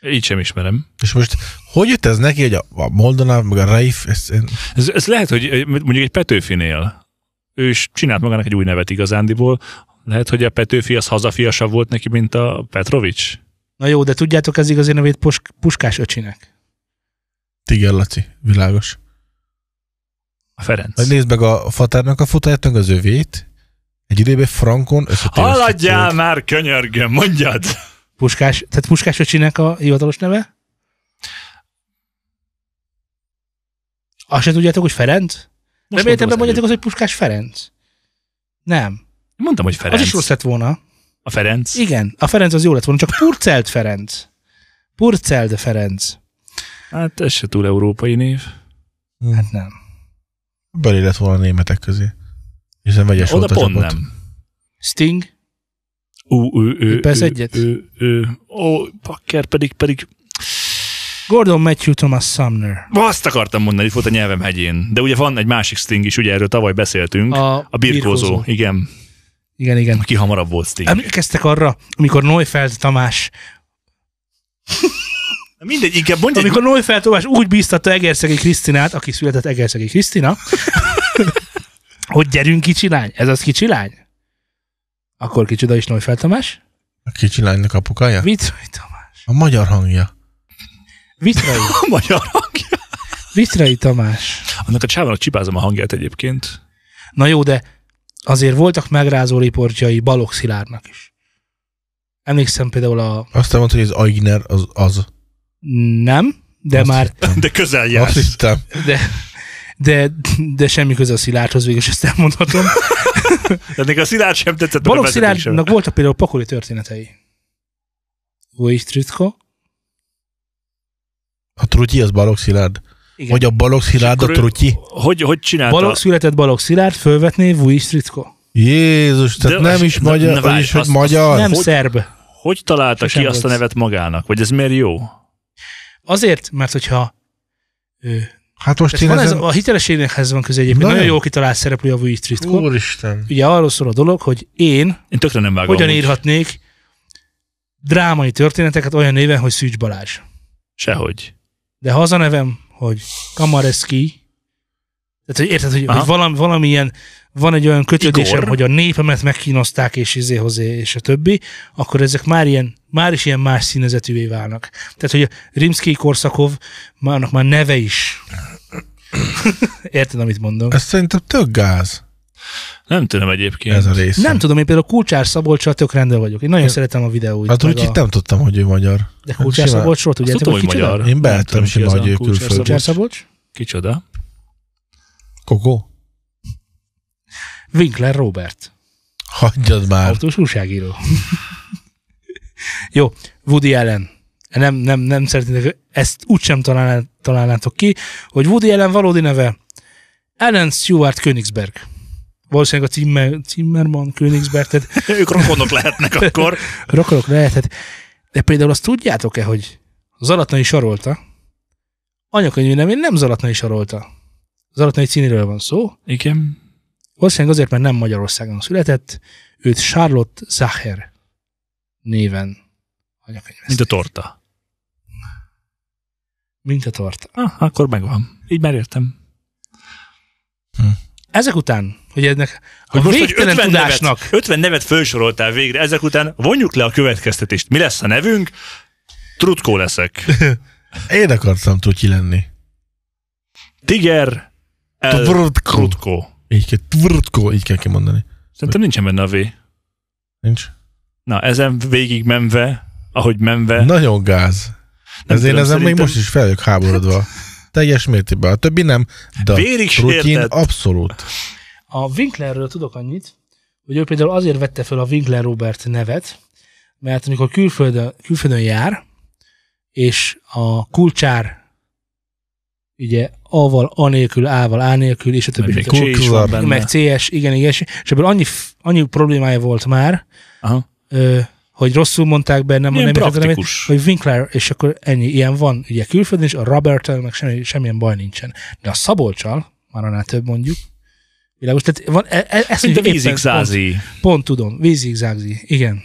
B: Így sem ismerem.
C: És most hogy jött ez neki, hogy a, a Moldonáv, meg a Raif, ez, én,
B: Ez, ez lehet, hogy ö, mondjuk egy Petőfinél ő is csinált magának egy új nevet igazándiból. Lehet, hogy a Petőfi az hazafiasabb volt neki, mint a Petrovics.
A: Na jó, de tudjátok ez igazi nevét Pus- Puskás öcsinek?
C: igen, Laci, világos.
B: A Ferenc.
C: Vagy nézd meg a fatárnak a fotáját, meg az övét, egy időben Frankon összetévesztett
B: Haladjál
C: volt.
B: már, könyörgöm, mondjad!
A: Puskás, tehát Puskás öcsinek a hivatalos neve? Azt se tudjátok, hogy Ferenc? Reméltem,
B: mondtam az
A: nem mondjátok
B: előbb.
A: azt, hogy Puskás Ferenc. Nem.
B: Mondtam, hogy Ferenc.
A: Az is rossz lett volna.
B: A Ferenc.
A: Igen, a Ferenc az jó lett volna, csak Purcelt Ferenc. Purcelt Ferenc.
B: Hát ez se túl európai név.
A: Hát nem.
C: Belé lett volna a németek közé. Hiszen vegyes
B: Oda
C: volt a
B: pont
C: csapat.
B: nem.
A: Sting,
B: Ú, ő, ő,
A: Tippelsz
B: ő,
A: egyet?
B: Ő, ő, ó, pakker, pedig, pedig,
A: Gordon Matthew Thomas Sumner.
B: azt akartam mondani, itt volt a nyelvem hegyén. De ugye van egy másik Sting is, ugye erről tavaly beszéltünk. A, a birkózó, igen.
A: Igen, igen.
B: Aki hamarabb volt Sting.
A: Emlékeztek arra, amikor Neufeld Tamás,
B: Mindegy, inkább mondj egy
A: amikor Neufeld Tamás úgy bíztatta Egerszegi Krisztinát, aki született Egerszegi Krisztina, hogy gyerünk kicsilány, ez az kicsilány. Akkor kicsoda is Neufeld Tamás.
C: A kicsi lánynak apukája?
A: Vitrai Tamás.
C: A magyar hangja.
A: Vitrai,
B: magyar hangja.
A: Vitrai Tamás.
B: Annak a csávának csipázom a hangját egyébként.
A: Na jó, de azért voltak megrázó riportjai Balogh Szilárdnak is. Emlékszem például a...
C: Azt mondta, hogy az Aigner az az.
A: Nem, de
C: Azt
A: már...
C: hittem.
B: De közel
C: Azt
B: jársz.
C: hittem.
A: De, de, de semmi köze a Szilárdhoz, végül is ezt elmondhatom.
B: De még a Szilárd sem tetszett. meg a
A: Balogh
B: vezeték sem.
A: Szilárdnak voltak például pokoli történetei. Új Tritko.
C: A trutyi az Balogh Szilárd.
A: Igen.
C: Vagy a Balogh Szilárd a
B: Akkor ő-
C: trutyi.
B: Hogy, hogy csinálta?
A: Balogh született Balogh Szilárd, fölvetné Vuj Tritko.
C: Jézus, tehát
B: De
C: nem
B: az-
C: is
B: de-
C: magyar,
B: na
C: vagyis
B: várj,
C: hogy
B: azt-
C: magyar.
A: Nem
B: hogy-
A: szerb.
B: Hogy találta
A: Sosem
B: ki azt a
A: volt.
B: nevet magának? Vagy ez miért jó?
A: Azért, mert hogyha ő,
C: Hát most
A: Ez
C: én
A: van ez,
C: ezen...
A: a hitelességhez van közé egyébként.
C: Nagyon.
A: Nagyon, nagyon jó kitalált szereplő a Vujic Tritko.
C: Úristen.
A: Ugye arról szól a dolog, hogy én
B: Én tökre nem vágom.
A: hogyan
B: amúgy.
A: írhatnék drámai történeteket olyan néven, hogy Szűcs Balázs.
B: Sehogy.
A: De ha az a nevem, hogy Kamareszki, tehát hogy érted, hogy,
B: Aha.
A: hogy valami, valamilyen, van egy olyan kötődésem,
B: Igor.
A: hogy a népemet megkínozták, és izé hozzá, és a többi, akkor ezek már ilyen már is ilyen más színezetűvé válnak. Tehát, hogy a Rimsky Korszakov, már annak már neve is. Érted, amit mondom?
C: Ez szerintem tök gáz,
B: Nem tudom egyébként.
C: ez a rész.
A: Nem tudom, én például Kulcsár Szabolcsal tök rendben vagyok. Én nagyon
C: Én-
A: szeretem a videóit.
C: Hát
A: meg
C: úgy
A: a...
C: hittem, tudtam, hogy ő magyar.
A: De Kulcsár
C: simán-
A: Szabolcsról tudjátok,
B: tudom,
A: hogy
B: hogy
A: kicsoda?
B: magyar.
C: Én beálltam
B: Nem tudom, ki
C: simán,
B: az a
C: hogy ő
B: Kulcsár
C: külföldi.
A: Kulcsár
B: Szabolcs.
A: Szabolcs?
B: Kicsoda?
C: Kogó?
A: Winkler Robert.
C: Hagyjad már.
A: Autós újságíró. Jó, Woody Allen. Nem, nem, nem szeretnétek, ezt úgysem találná, találnátok ki, hogy Woody Allen valódi neve Allen Stewart Königsberg. Valószínűleg a Zimmer, Zimmerman Königsberg, tehát
B: ők rokonok lehetnek akkor.
A: rokonok lehetett. De például azt tudjátok-e, hogy Zalatnai Sarolta, anyakönyvű nevén nem Zalatnai Sarolta. Zalatnai cíniről van szó,
B: Igen.
A: Valószínűleg azért, mert nem Magyarországon született, őt Charlotte Zacher néven anyakönyvezték.
B: Mint a torta.
A: Mint a torta.
B: Ah, akkor megvan. Így már értem.
A: Ezek után, hogy ennek
B: Hogy
A: a
B: most, hogy
A: végtelen
B: 50
A: tudásnak
B: nevet, 50 nevet felsoroltál végre, ezek után vonjuk le a következtetést. Mi lesz a nevünk? Trutkó leszek.
C: Én akartam tudni lenni.
B: Tiger El
C: Tvrtkó.
B: Trutkó.
C: Így kell, tvrtkó, így kell kimondani.
B: Szerintem nincsen benne a V.
C: Nincs?
B: Na, ezen végig menve, ahogy menve,
C: Nagyon gáz.
B: Nem
C: Ezért
B: tudom,
C: ezen még
B: szerintem-
C: most is fel vagyok háborodva. Teljes mértékben. A többi nem, de
B: Vérig
C: a rutin
B: sértett.
C: abszolút.
A: a Winklerről tudok annyit, hogy ő például azért vette fel a Winkler Robert nevet, mert amikor külföldön, külföldön jár, és a kulcsár ugye A-val, A nélkül, A-val, A nélkül, és a többi.
B: még
A: stb.
B: J is van benne.
A: meg CS, igen, igen, és ebből annyi, f- annyi problémája volt már,
B: Aha.
A: ö, hogy rosszul mondták be, nem,
B: Milyen
A: nem értettem, amit,
B: praktikus.
A: hogy Winkler, és akkor ennyi, ilyen van, ugye külföldön is, a robert meg semmi, semmilyen baj nincsen. De a Szabolcsal, már annál több mondjuk, világos, tehát van, e, e, ezt
B: Mint a
A: mondjuk éppen
B: vízig zázi.
A: Pont, pont tudom, vízigzágzi, igen.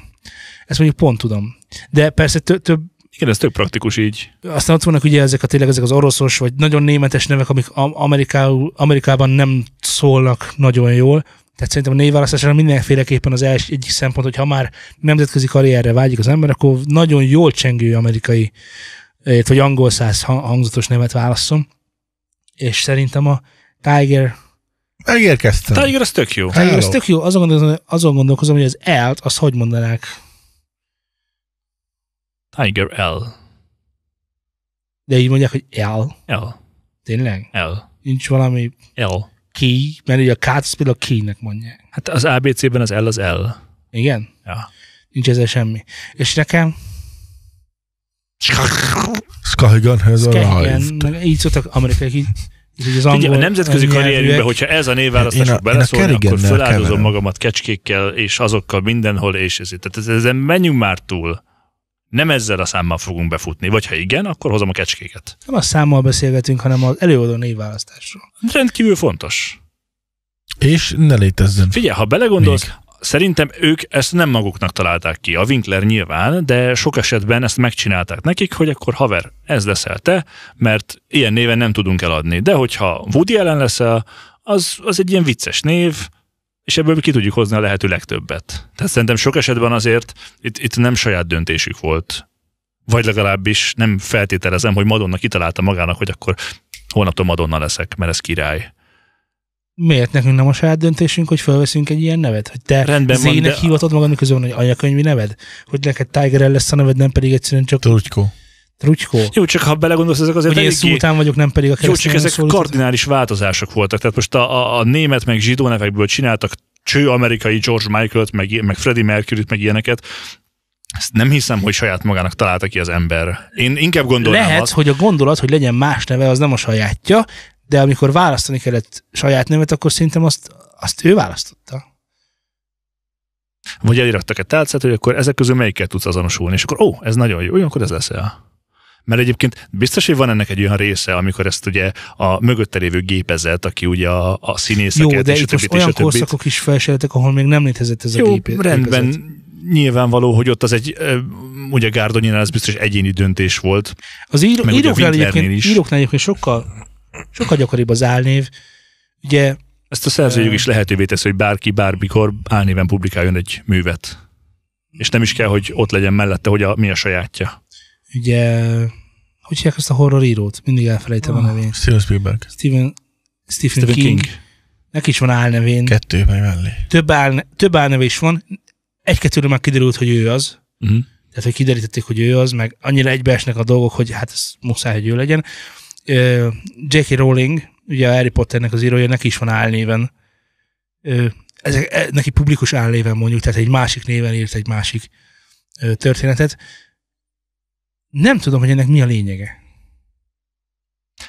A: Ezt mondjuk pont tudom. De persze tö- több,
B: Igen, ez tök praktikus így.
A: aztán ott vannak ugye ezek a tényleg ezek az oroszos, vagy nagyon németes nevek, amik Am- Amerikául, Amerikában nem szólnak nagyon jól. Tehát szerintem a névválasztásra mindenféleképpen az első egyik szempont, hogy ha már nemzetközi karrierre vágyik az ember, akkor nagyon jól csengő amerikai eh, vagy angol száz ha- hangzatos nevet válasszom. És szerintem a Tiger,
C: Megérkeztem.
B: Tiger, az tök jó.
A: Tiger az
C: Hello.
A: tök jó, azon gondolkozom, azon gondolkozom hogy az L-t, azt hogy mondanák,
B: Tiger L.
A: de így mondják, hogy L,
B: L.
A: tényleg?
B: L.
A: Nincs valami
B: L.
A: key, mert ugye a K-t azt például key-nek mondják.
B: Hát az ABC-ben az L az L.
A: Igen?
B: Ja.
A: Nincs ezzel semmi. És nekem
C: Skygun has
A: Kehyen,
C: arrived.
A: meg így szóltak amerikaiak, így, így az angol
B: Ugye, a nemzetközi
A: nyelvűek.
B: karrierünkben, hogyha ez a
C: Én a-
B: névválasztások
C: Hát én a
B: beleszólnak, akkor
C: Kerrigannel
B: feláldozom
C: keverem.
B: magamat kecskékkel és azokkal mindenhol, és ezért. Tehát ez- ezen menjünk már túl. Nem ezzel a számmal fogunk befutni. Vagy ha igen, akkor hozom a kecskéket.
A: Nem a számmal beszélgetünk, hanem az előadó névválasztásról.
B: Rendkívül fontos.
C: És ne létezzen.
B: Figyelj, ha belegondolsz, Szerintem ők ezt nem maguknak találták ki, a Winkler nyilván, de sok esetben ezt megcsinálták nekik, hogy akkor haver, ez leszel te, mert ilyen néven nem tudunk eladni. De hogyha Woody ellen leszel, az, az egy ilyen vicces név, és ebből ki tudjuk hozni a lehető legtöbbet. Tehát szerintem sok esetben azért itt, itt nem saját döntésük volt. Vagy legalábbis nem feltételezem, hogy Madonna kitalálta magának, hogy akkor holnaptól Madonna leszek, mert ez király.
A: Miért nekünk nem a saját döntésünk, hogy felveszünk egy ilyen nevet? Hogy te
B: Rendben van,
A: Zének
B: de-
A: hivatod magad, miközben van egy anyakönyvi neved? Hogy neked Tiger El lesz a neved, nem pedig egyszerűen csak
C: Trutykó.
A: Trucskó?
B: Jó, csak ha belegondolsz, ezek azért
A: Hogy én
B: eléggé-
A: szultán vagyok, nem pedig a
B: Jó, csak
A: keresztény
B: ezek kardinális változások voltak. Tehát most a, a, a német meg zsidó nevekből csináltak cső amerikai George Michael-t, meg, i- meg Freddie Mercury-t, meg ilyeneket. Ezt nem hiszem, hogy saját magának találta ki az ember. Én inkább gondolnám
A: Lehet,
B: azt,
A: hogy a gondolat, hogy legyen más neve, az nem a sajátja, de amikor választani kellett saját nevet, akkor szerintem azt, azt ő választotta.
B: vagy elirattak egy tálcát, hogy akkor ezek közül melyikkel tudsz azonosulni, és akkor ó, ez nagyon jó, jó, akkor ez leszel. Mert egyébként biztos, hogy van ennek egy olyan része, amikor ezt ugye a mögötte lévő gépezet, aki ugye a, a színészeket
A: Jó, de
B: és a
A: itt most
B: többit, és a
A: olyan
B: többit.
A: korszakok is felseltek, ahol még nem létezett ez a
B: Jó,
A: gép.
B: rendben.
A: gépezet.
B: Nyilvánvaló, hogy ott az egy, ö, ugye Gárdonyinál ez biztos egyéni döntés volt.
A: Az író,
B: Meg ugye a
A: íróknál,
B: Winklernél
A: egyébként,
B: is.
A: íróknál egyébként sokkal, sokkal gyakoribb az álnév. Ugye
B: Ezt a szerzőjük is lehetővé teszi, hogy bárki bármikor álnéven publikáljon egy művet. És nem is kell, hogy ott legyen mellette, hogy a, mi a sajátja.
A: Ugye, hogy hívják ezt a horror írót? Mindig elfelejtem
B: Ah.
A: a nevét.
C: Steven Spielberg.
A: Stephen, Stephen,
B: Stephen King. King.
A: Neki is van álnevén.
C: Kettő meg mellé.
A: Több, álne, több álneve is van. Egy-kettőre már kiderült, hogy ő az.
B: Uh-huh.
A: Tehát, hogy kiderítették, hogy ő az, meg annyira egybeesnek a dolgok, hogy hát ez muszáj, hogy ő legyen. Ö, J.K. Rowling, ugye a Harry Potternek az írója, neki is van álnéven. Ö, Ezek, e- neki publikus álnéven mondjuk, tehát egy másik néven írt egy másik ö, történetet. Nem tudom, hogy ennek mi a lényege.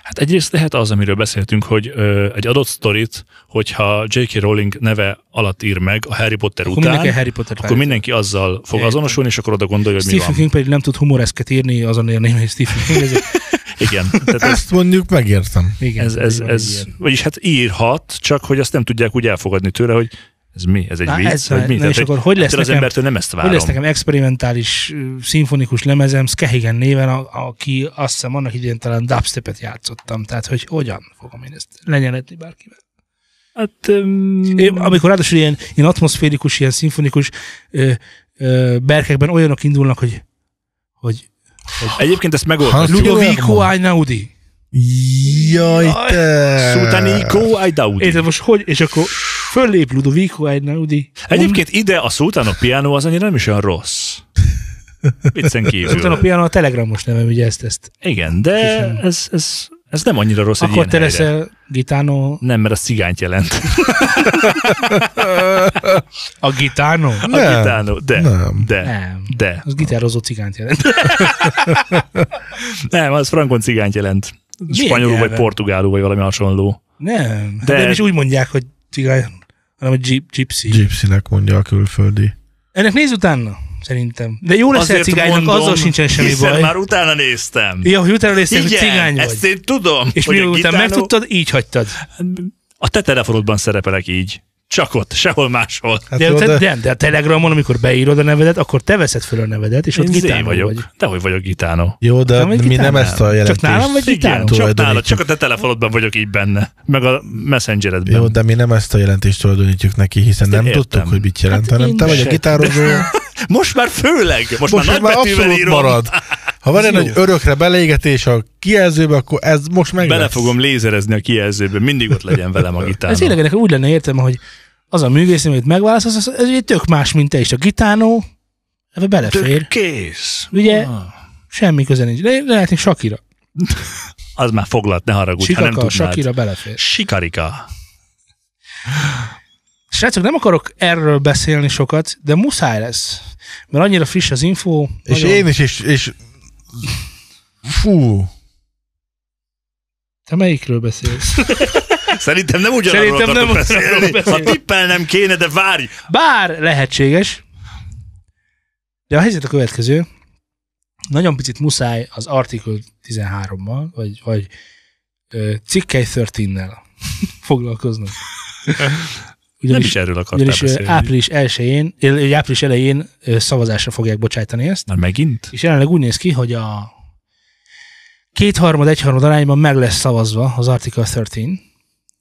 B: Hát egyrészt lehet az, amiről beszéltünk, hogy ö, egy adott sztorit, hogyha J.K. Rowling neve alatt ír meg a Harry Potter
A: Akkor
B: után,
A: mindenki a Harry Potter
B: akkor mindenki azzal fog
A: Értem.
B: azonosulni, és akkor oda gondolja, hogy mi
A: Stephen
B: van.
A: King pedig nem tud humoreszket írni, azon érném, hogy Stephen King. Ez,
B: Igen. Tehát ez,
C: Ezt mondjuk megértem.
A: igen,
B: ez, ez,
A: van egy
B: ez,
A: ilyen.
B: vagyis hát írhat, csak hogy azt nem tudják úgy elfogadni tőle, hogy ez mi, ez egy
A: Na,
B: vicc,
A: ez-
B: vagy mi.
A: na, és
B: hogy
A: akkor hogy lesz
B: ettől az
A: nekem-
B: embertől nem ezt várom.
A: Hogy lesz nekem experimentális, ö, szimfonikus lemezem, Skehigen néven, a, aki azt hiszem annak idén talán dubstepet játszottam. Tehát, hogy hogyan fogom én ezt lenyeletni bárkivel.
B: Hát, um,
A: Én, amikor ráadásul ilyen, ilyen atmoszférikus, ilyen szimfonikus ö, ö, berkekben olyanok indulnak, hogy, hogy
B: egyébként ezt megoldhatjuk.
C: Hát,
A: Ludovico
C: Jaj,
A: Einaudi.
C: Jaj, te!
B: Szultánico Aidaudi.
A: Érted most hogy? És akkor föllép Ludovico Einaudi.
B: Egyébként ide a Sultan of Piano az annyira nem is olyan rossz. Viccen
A: Utána a
B: kívül.
A: piano a telegramos nevem, ugye ezt, ezt.
B: Igen, de
A: Kisem.
B: ez, ez, ez nem annyira rossz egy
A: Akkor
B: ilyen
A: te
B: helyre.
A: leszel gitánó.
B: Nem, mert az cigányt jelent.
A: A gitánó?
B: A
C: Nem.
B: gitánó. De,
C: Nem.
B: de,
A: Nem.
B: de.
A: Az gitározó cigányt jelent.
B: Nem, az frankon cigányt jelent.
A: Milyen
B: Spanyolul vagy
A: nyelven?
B: portugálul vagy valami hasonló.
A: Nem. De...
B: De-
A: Nem is úgy mondják, hogy cigány, hanem hogy gyip, gypsy. Gyip.
C: Gypsynek mondja a külföldi.
A: Ennek néz utána, szerintem. De jó leszel cigánynak, mondom, azzal sincsen semmi
B: hiszen
A: baj. Már...
B: már utána néztem.
A: Ja, hogy utána néztél, hogy cigány vagy.
B: ezt én tudom.
A: És
B: hogy Hát a
A: miután
B: gitánó-
A: megtudtad, így hagytad.
B: A te telefonodban szerepelek így. Csak ott, sehol máshol.
C: Hát
A: De,
C: jó,
A: de,
C: de,
A: de, de a Telegramon, amikor beírod a nevedet, akkor te veszed föl a nevedet, és ott
B: Én zé
A: gitánó
B: vagyok.
A: vagy.
B: Vagy. Dehogy vagyok gitánó.
C: jó, de
A: Nem, egy
C: mi nem
A: gitánál.
C: ezt a
A: Csak
C: jelentést.
A: nálam vagy
B: Igen,
A: gitánó?
B: csak
C: Tulajdonítjuk.
B: nálad, csak a te telefonodban vagyok így benne. Meg a messengeredben.
C: Jó, de mi nem ezt a jelentést tulajdonítjuk neki, hiszen
B: én
C: nem
B: értem.
C: tudtuk, hogy mit jelent,
A: Hát
C: hanem
A: én
C: te vagy a
A: se.
C: gitározó.
B: Most már főleg, most,
C: Most
B: már
C: ez már
B: nagybetűvel
C: abszolút
B: írom.
C: marad. Ha van egy
A: jó.
C: nagy örökre beleégetés a kijelzőbe, akkor ez most meg
B: Bele
C: lesz.
B: fogom lézerezni a kijelzőbe, mindig ott legyen velem a gitár.
A: Ez tényleg ennek úgy lenne értelme, hogy az a művész, amit megválasztasz, az, ez ugye tök más, mint te is. A gitánó, ebbe belefér.
B: kész.
A: Ugye?
B: Ah.
A: Semmi köze nincs. Le, lehetnénk Sakira.
B: Az már foglalt, ne haragudj, ha nem
A: Sikaka,
B: tudnád.
A: Sakira belefér.
B: Sikarika.
A: Srácok, nem akarok erről beszélni sokat, de muszáj lesz. Mert annyira friss az info.
C: És
A: nagyon-
C: én is, és, és fú,
A: Te melyikről beszélsz?
B: Szerintem nem ugyanarról
A: Szerintem
B: akartok
A: nem
B: beszélni.
A: ugyanarról
B: Ha
A: beszélünk.
B: tippelnem kéne, de várj!
A: Bár lehetséges, de a helyzet a következő. Nagyon picit muszáj az Article 13-mal, vagy, vagy ö, cikkely 13-nel foglalkoznunk.
B: Nem is erről akartál
A: ugyanis ö,
B: beszélni.
A: április 1-én, ö, vagy április elején ö, szavazásra fogják bocsájtani ezt,
B: Már megint?
A: és jelenleg úgy néz ki, hogy a kétharmad, egyharmad arányban meg lesz szavazva az Article 13.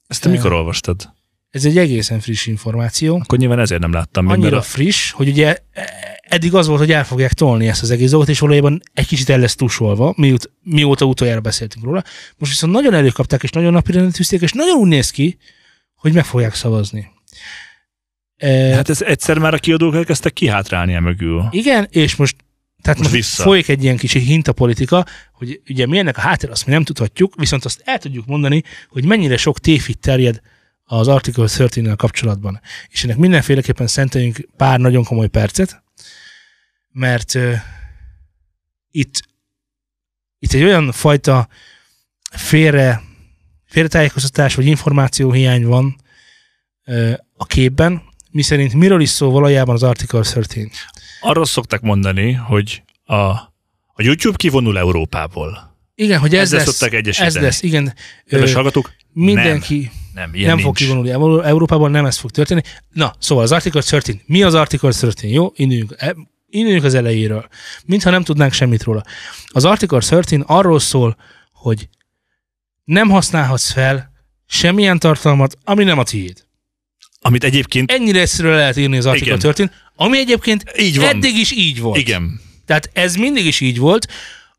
B: Ezt te mikor olvastad?
A: Ez egy egészen friss információ.
B: Akkor nyilván ezért nem láttam még,
A: annyira
B: mert
A: friss, hogy ugye eh, eddig az volt, hogy el fogják tolni ezt az egész dolgot, és valójában egy kicsit el lesz tusolva, miut, mióta utoljára beszéltünk róla. Most viszont nagyon előkapták, és nagyon napirendre tűzték, és nagyon úgy néz ki, hogy meg fogják szavazni. E,
B: Hát ez egyszer már a kiadók elkezdtek kihátrálni e mögül.
A: igen, és most tehát
B: Most
A: most
B: vissza.
A: folyik egy ilyen kicsi hintapolitika, hogy ugye mi ennek a háttér, azt mi nem tudhatjuk, viszont azt el tudjuk mondani, hogy mennyire sok tévhit terjed az Article 13 kapcsolatban. És ennek mindenféleképpen szenteljünk pár nagyon komoly percet, mert uh, itt, itt egy olyan fajta félre, félretájékoztatás vagy információhiány van uh, a képben, miszerint miről is szól valójában az Article 13.
B: Arról szokták mondani, hogy a, a YouTube kivonul Európából.
A: Igen, hogy ez
B: Ezzel
A: lesz.
B: szokták
A: Ez
B: egyesíteni.
A: lesz, igen.
B: Kedves
A: Ö,
B: hallgatók,
A: mindenki
B: nem,
A: nem
B: ilyen
A: fog
B: nincs.
A: kivonulni Euró- Európában, nem ez fog történni. Na, szóval az Article 13. Mi az Article 13? Jó, induljunk, e- induljunk az elejéről. Mintha nem tudnánk semmit róla. Az Article 13 arról szól, hogy nem használhatsz fel semmilyen tartalmat, ami nem a tiéd.
B: Amit egyébként
A: Ennyire egyszerűen lehet írni az Article
B: Igen.
A: 13. Ami egyébként
B: Így van.
A: eddig is így volt.
B: Igen.
A: Tehát ez mindig is így volt.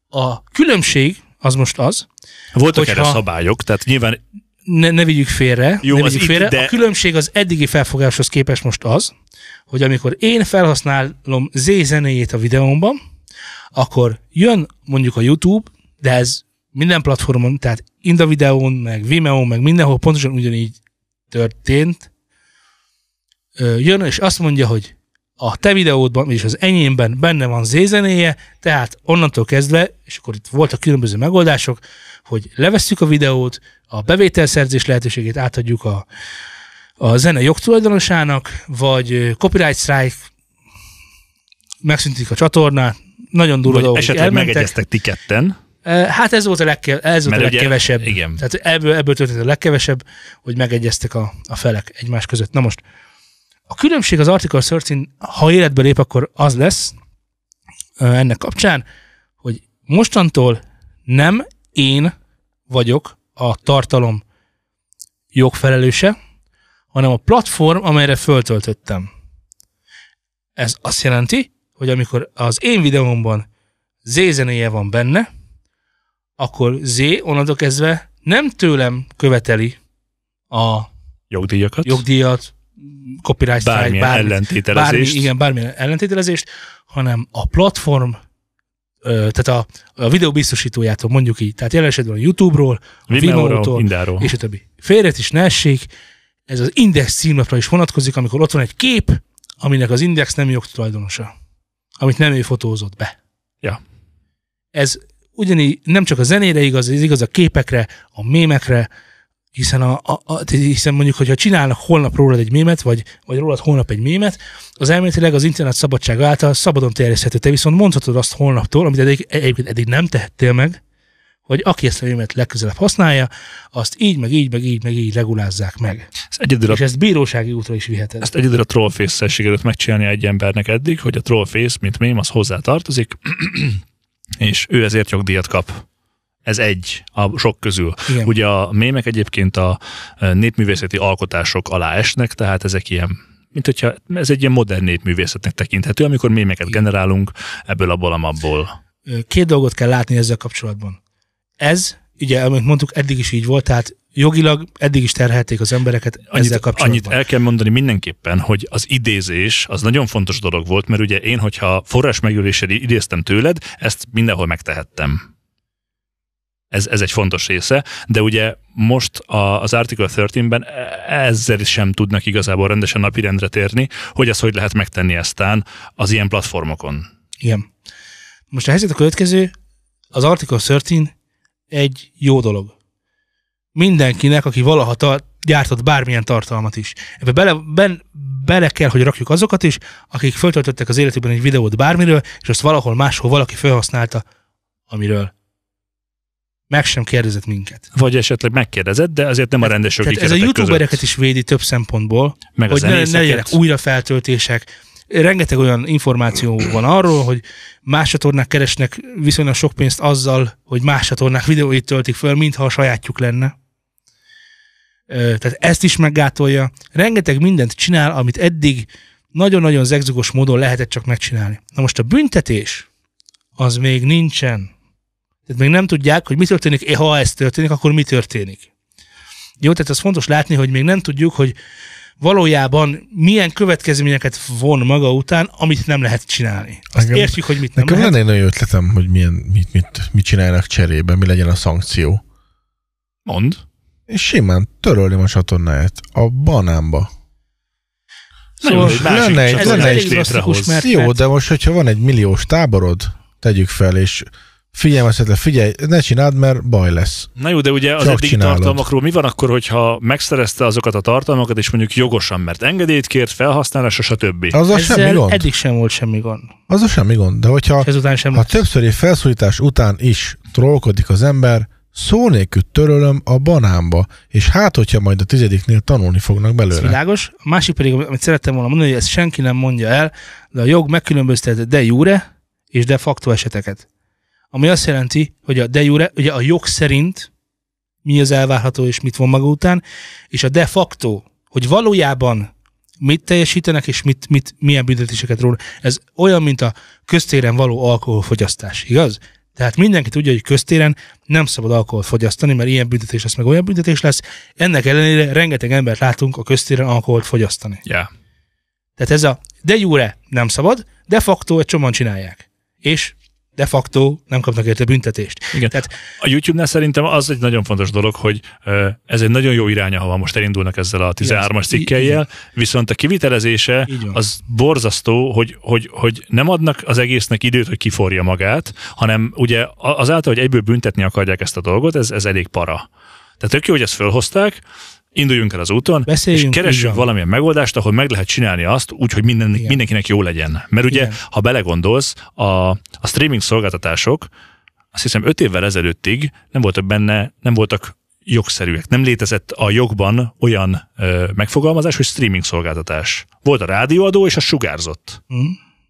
A: A különbség az most az,
B: Voltak
A: Hogyha-
B: erre szabályok, tehát nyilván
A: ne, ne vigyük félre,
B: Jó,
A: ne
B: az
A: vigyük
B: itt,
A: félre.
B: de-
A: a különbség az eddigi felfogáshoz képest most az, hogy amikor én felhasználom Z zenéjét a videómban, akkor jön mondjuk a YouTube, de ez minden platformon, tehát Inda videón, meg Vimeo, meg mindenhol pontosan ugyanígy történt, Ö, jön és azt mondja, hogy a te videódban, és az enyémben benne van Z zenéje, tehát onnantól kezdve, és akkor itt voltak különböző megoldások, hogy levesszük a videót, a bevételszerzés lehetőségét átadjuk a, a zene jogtulajdonosának, vagy ö, copyright strike, megszüntik a csatornát, nagyon durva
B: vagy
A: dolgok
B: esetleg
A: elmentek.
B: megegyeztek ti ketten.
A: E, Hát ez volt a, legke, ez volt a
B: Mert ugye-
A: legkevesebb.
B: igen.
A: Tehát ebből, ebből történt a legkevesebb, hogy megegyeztek a, a felek egymás között. Na most, a különbség az Article 13, ha életbe lép, akkor az lesz ö, ennek kapcsán, hogy mostantól nem én vagyok a tartalom jogfelelőse, hanem a platform, amelyre föltöltöttem. Ez azt jelenti, hogy amikor az én videómban Z zenéje van benne, akkor Z onnantól kezdve nem tőlem követeli a
B: Jogdíjakat.
A: jogdíjat, copyright strike,
B: Hát bármilyen
A: bármit, bármi,
B: ellentételezést.
A: igen, bármilyen ellentételezést, hanem a platform, ö, tehát a, a videó biztosítójától mondjuk így, tehát jelen esetben a YouTube-ról, a
B: Vimeo-ról,
A: Vimeo-tól,
B: Indáról.
A: és a többi. Félret is ne essék, ez az index címlapra is vonatkozik, amikor ott van egy kép, aminek az index nem jogtulajdonosa, amit nem ő fotózott be.
B: Ja.
A: Ez ugyanígy nem csak a zenére igaz, ez igaz a képekre, a mémekre, hiszen, a, a, a, hiszen mondjuk, hogyha csinálnak holnap rólad egy mémet, vagy, vagy rólad holnap egy mémet, az elméletileg az internet szabadsága által szabadon terjeszthető. Te viszont mondhatod azt holnaptól, amit eddig, egyébként eddig nem tehettél meg, hogy aki ezt a mémet legközelebb használja, azt így, meg így, meg így, meg így regulázzák meg.
B: Ezt egyedül a
A: És ezt bírósági útra is viheted.
B: Ezt egyedül a trollface-szel sikerült megcsinálni egy embernek eddig, hogy a trollface, mint mém, az hozzá tartozik, és ő ezért jogdíjat kap. Ez egy a sok közül.
A: Igen.
B: Ugye a mémek egyébként a ö, népművészeti alkotások alá esnek, tehát ezek ilyen mint hogyha ez egy ilyen modern népművészetnek tekinthető, amikor mémeket generálunk ebből, abból, amabból.
A: Ö, Két dolgot kell látni ezzel kapcsolatban. Ez, ugye, amit mondtuk, eddig is így volt, tehát jogilag eddig is terhelték az embereket
B: Annyit,
A: ezzel kapcsolatban.
B: annyit el kell mondani mindenképpen, hogy az idézés az nagyon fontos dolog volt, mert ugye én, hogyha forrás megöléssel idéztem tőled, ezt mindenhol megtehettem. Ez, ez egy fontos része, de ugye most a, az Article 13-ben ezzel is sem tudnak igazából rendesen napirendre térni, hogy ezt hogy lehet megtenni eztán az ilyen platformokon.
A: Igen. Most a helyzet a következő, az Article 13 egy jó dolog. Mindenkinek, aki valaha ta- gyártott bármilyen tartalmat is. Ebbe bele, ben, bele kell, hogy rakjuk azokat is, akik föltöltöttek az életükben egy videót bármiről, és azt valahol máshol valaki felhasználta, amiről meg sem kérdezett minket.
B: Vagy esetleg megkérdezed, de azért nem a rendes jogi
A: Hát, Tehát ez a
B: keretek
A: youtubereket
B: között,
A: is védi több szempontból,
B: meg
A: hogy
B: a
A: ne, ne
B: zenészeket.
A: legyenek újra feltöltések. Rengeteg olyan információ van arról, hogy más csatornák keresnek viszonylag sok pénzt azzal, hogy más csatornák videóit töltik föl, mintha a sajátjuk lenne. Ö, Tehát ezt is meggátolja. Rengeteg mindent csinál, amit eddig nagyon-nagyon zegzugos módon lehetett csak megcsinálni. Na most a büntetés az még nincsen. Tehát még nem tudják, hogy mi történik, eh, ha ez történik, akkor mi történik. Jó, tehát az fontos látni, hogy még nem tudjuk, hogy valójában milyen következményeket von maga után, amit nem lehet csinálni. Azt
C: Engem-
A: értjük, hogy mit nem
C: Nekem
A: lehet.
C: lenne egy nagyon jó ötletem, hogy milyen, mit, mit, mit csinálnak cserébe, mi legyen a szankció.
B: Mond.
C: És simán törölném a csatornáját a banánba.
A: Szóval
B: Nagyon- másik
C: lenne egy-
A: ez
B: csatornát
C: lenne
B: is
C: egy
A: elég drasztikus,
B: létrehoz.
A: mert,
C: Jó,
A: mert
C: de most, hogyha van egy milliós táborod, tegyük fel, és figyelmeztetle, figyelj, ne csináld, mert baj lesz.
B: Na jó, de ugye az
C: Csak
B: eddig
C: csinálod.
B: tartalmakról mi van akkor, hogyha megszerezte azokat a tartalmakat, és mondjuk jogosan, mert engedélyt kért, felhasználásra, stb.
C: Azzal semmi
A: ezzel
C: gond.
A: eddig sem volt semmi gond.
C: Azzal semmi gond. De hogyha
A: És ezután sem
C: ha
A: lesz.
C: többszöri felszólítás után is trollkodik az ember, szó nélkül törölöm a banánba, és hát, hogyha majd a tizediknél tanulni fognak
A: Ez
C: belőle.
A: világos. A másik pedig, amit szerettem volna mondani, hogy ezt senki nem mondja el, de a jog megkülönböztet de jure és de facto eseteket. Ami azt jelenti, hogy a de jure, ugye a jog szerint mi az elvárható és mit von maga után, és a de facto, hogy valójában mit teljesítenek, és mit, mit, milyen büntetéseket róla. Ez olyan, mint a köztéren való alkoholfogyasztás, igaz? Tehát mindenki tudja, hogy köztéren nem szabad alkoholt fogyasztani, mert ilyen büntetés lesz, meg olyan büntetés lesz. Ennek ellenére rengeteg embert látunk a köztéren alkoholt fogyasztani.
B: Yeah.
A: Tehát ez a de jure nem szabad, de facto egy csomóan csinálják. És de facto nem kapnak érte büntetést.
B: Igen.
A: Tehát
B: A YouTube-nál szerintem az egy nagyon fontos dolog, hogy ö, ez egy nagyon jó irány, ahova most elindulnak ezzel a 13-as
A: Igen.
B: cikkeljel, viszont a kivitelezése
A: Így van.
B: az borzasztó, hogy, hogy, hogy nem adnak az egésznek időt, hogy kiforja magát, hanem ugye a- azáltal, hogy egyből büntetni akarják ezt a dolgot, ez, ez elég para. Tehát tök jó, hogy ezt fölhozták, induljunk el az úton,
A: Beszéljünk,
B: és
A: így
B: keressünk
A: van.
B: valamilyen megoldást, ahol meg lehet csinálni azt, úgyhogy minden,
A: Igen.
B: mindenkinek jó legyen. Mert ugye,
A: Igen.
B: ha belegondolsz, a, a streaming szolgáltatások azt hiszem öt évvel ezelőttig nem voltak benne, nem voltak jogszerűek. Nem létezett a jogban olyan ö, megfogalmazás, hogy streaming szolgáltatás. Volt a rádióadó, és a sugárzott.
A: Mhm.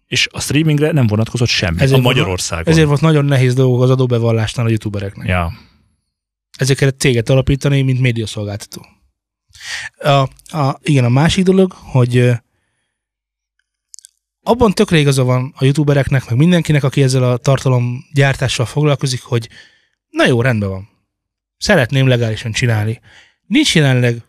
B: És a streamingre nem vonatkozott semmi. Ezért
A: Ezért
B: a
A: van-
B: Magyarországon.
A: ezért volt nagyon nehéz dolgok az adóbevallásnál a youtubereknek.
B: Ja.
A: Ezért kellett céget alapítani, mint médiaszolgáltató. A, a, igen, a másik dolog, hogy ö, abban tökre igaza van a youtubereknek, meg mindenkinek, aki ezzel a tartalomgyártással foglalkozik, hogy na jó, rendben van. Szeretném legálisan csinálni. Nincs jelenleg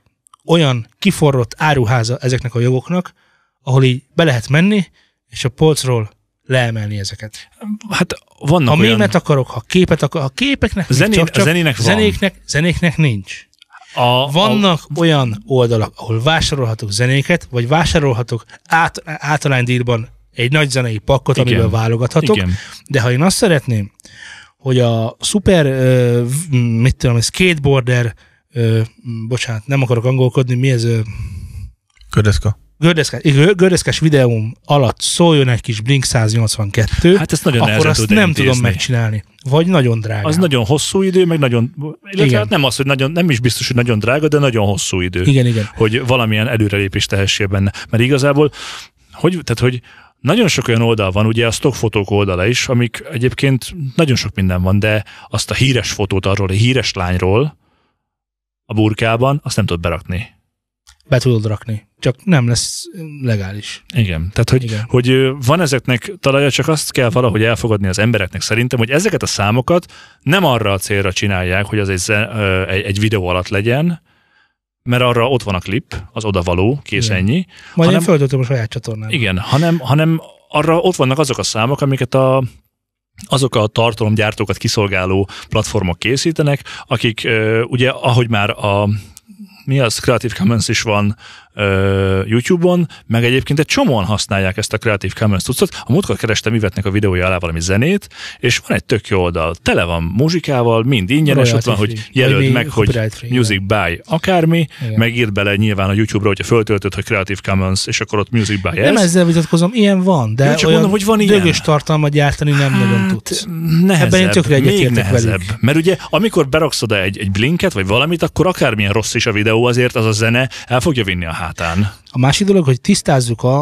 A: olyan kiforrott áruháza ezeknek a jogoknak, ahol így be lehet menni, és a polcról leemelni ezeket.
B: Hát vannak
A: ha
B: olyan...
A: mémet akarok, ha képet akarok, ha képeknek nincs,
B: Zené-
A: csak, csak
B: zenének van.
A: zenéknek, zenéknek nincs.
B: a,
A: Vannak a... olyan oldalak, ahol vásárolhatok zenéket, vagy vásárolhatok át, általánydíjban egy nagy zenei pakkot,
B: Igen.
A: Igen. amiből válogathatok,
B: Igen.
A: Igen. de ha én azt szeretném, hogy a szuper, ö, v- m, mit tudom, skateboarder, ö, m, bocsánat, nem akarok angolkodni, mi ez, ö,
C: Kördeszka.
A: gördeszkás, igen, gördeszkás videóm alatt szóljon egy kis Blink 182,
B: Hát ezt nagyon
A: akkor
B: nehezen
A: azt
B: tudod
A: nem
B: elintézni.
A: tudom megcsinálni. Vagy nagyon drága.
B: Az nagyon hosszú idő, meg nagyon... Illetve
A: Igen.
B: hát nem az, hogy nagyon, nem is biztos, hogy nagyon drága, de nagyon hosszú idő.
A: Igen, igen.
B: Hogy valamilyen előrelépést tehessél benne. Mert igazából, hogy, tehát, hogy nagyon sok olyan oldal van, ugye a stockfotók oldala is, amik egyébként nagyon sok minden van, de azt a híres fotót arról, a híres lányról a burkában, azt nem tudod berakni.
A: be tudod rakni. Csak nem lesz legális.
B: Igen, tehát hogy,
A: Igen.
B: hogy ö, van ezeknek talaja, csak azt kell valahogy elfogadni az embereknek szerintem, hogy ezeket a számokat nem arra a célra csinálják, hogy az egy, ze- ö, egy, egy videó alatt legyen, mert arra ott van a klip, az odavaló, kész
A: Igen.
B: ennyi.
A: Majd
B: Hanem-
A: én föltöltöm a saját csatornán.
B: Igen, hanem, hanem arra ott vannak azok a számok, amiket a azok a tartalomgyártókat kiszolgáló platformok készítenek, akik ö, ugye, ahogy már a mi az, Creative Commons is van ö, YouTube-on, meg egyébként egy csomóan használják ezt a Creative Commons tudszot. A múltkor kerestem Ivetnek a videója alá valami zenét, és van egy tök jó oldal. Tele van muzsikával, mind ingyenes, ott van,
A: Royalty
B: hogy
A: free.
B: jelöld
A: Vagy
B: meg, hogy
A: copyright free, igen.
B: music by akármi,
A: Igen.
B: megírt bele nyilván a YouTube-ra, hogyha föltöltöd, hogy Creative Commons, és akkor ott Music by
A: Nem
B: ez.
A: ezzel vitatkozom, ilyen van, de
B: Jó, csak
A: olyan
B: mondom, hogy van ilyen. Hát-
A: dögös tartalmat gyártani nem nagyon tudsz.
B: Nehezebb,
A: Ebben én tökre
B: még
A: egyetértek
B: nehezebb.
A: velük.
B: Mert ugye, amikor beraksz oda egy, egy blinket, vagy valamit, akkor akármilyen rossz is a videó, azért az a zene el fogja vinni a hátán.
A: A másik dolog, hogy tisztázzuk a,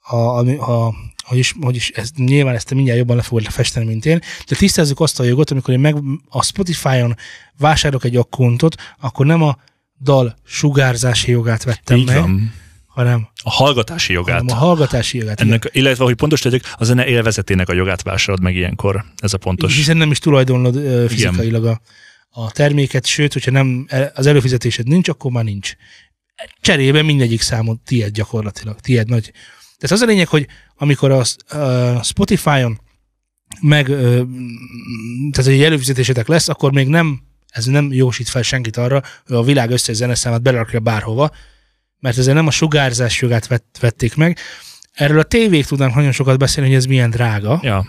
A: a, a, a hogy is, hogy is ez, nyilván ezt te mindjárt jobban le fogod festeni, mint én, de tisztázzuk azt a jogot, amikor én meg a Spotify-on vásárolok egy akkontot, akkor nem a dal sugárzási jogát vettem
B: Így
A: meg,
B: van.
A: hanem,
B: A hallgatási jogát.
A: hanem a hallgatási jogát. igen.
B: Ennek, illetve, hogy pontos legyek, a zene élvezetének a jogát vásárod meg ilyenkor. Ez a pontos.
A: Hiszen nem is tulajdonlod ö, fizikailag a, a terméket, sőt, hogyha nem e, az előfizetésed nincs, akkor már nincs. Cserébe mindegyik számod tiéd gyakorlatilag, tiéd nagy. Tehát az a lényeg, hogy amikor a s- a Spotify-on meg, ö, m- tehát egy előfizetésetek lesz, akkor még nem, ez nem jósít fel senkit arra, hogy a világ összes zeneszámát belerakja bárhova, mert ezzel nem a sugárzás jogát vett, vették meg. Erről a tévék tudnánk nagyon sokat beszélni, hogy ez milyen drága
B: Ja,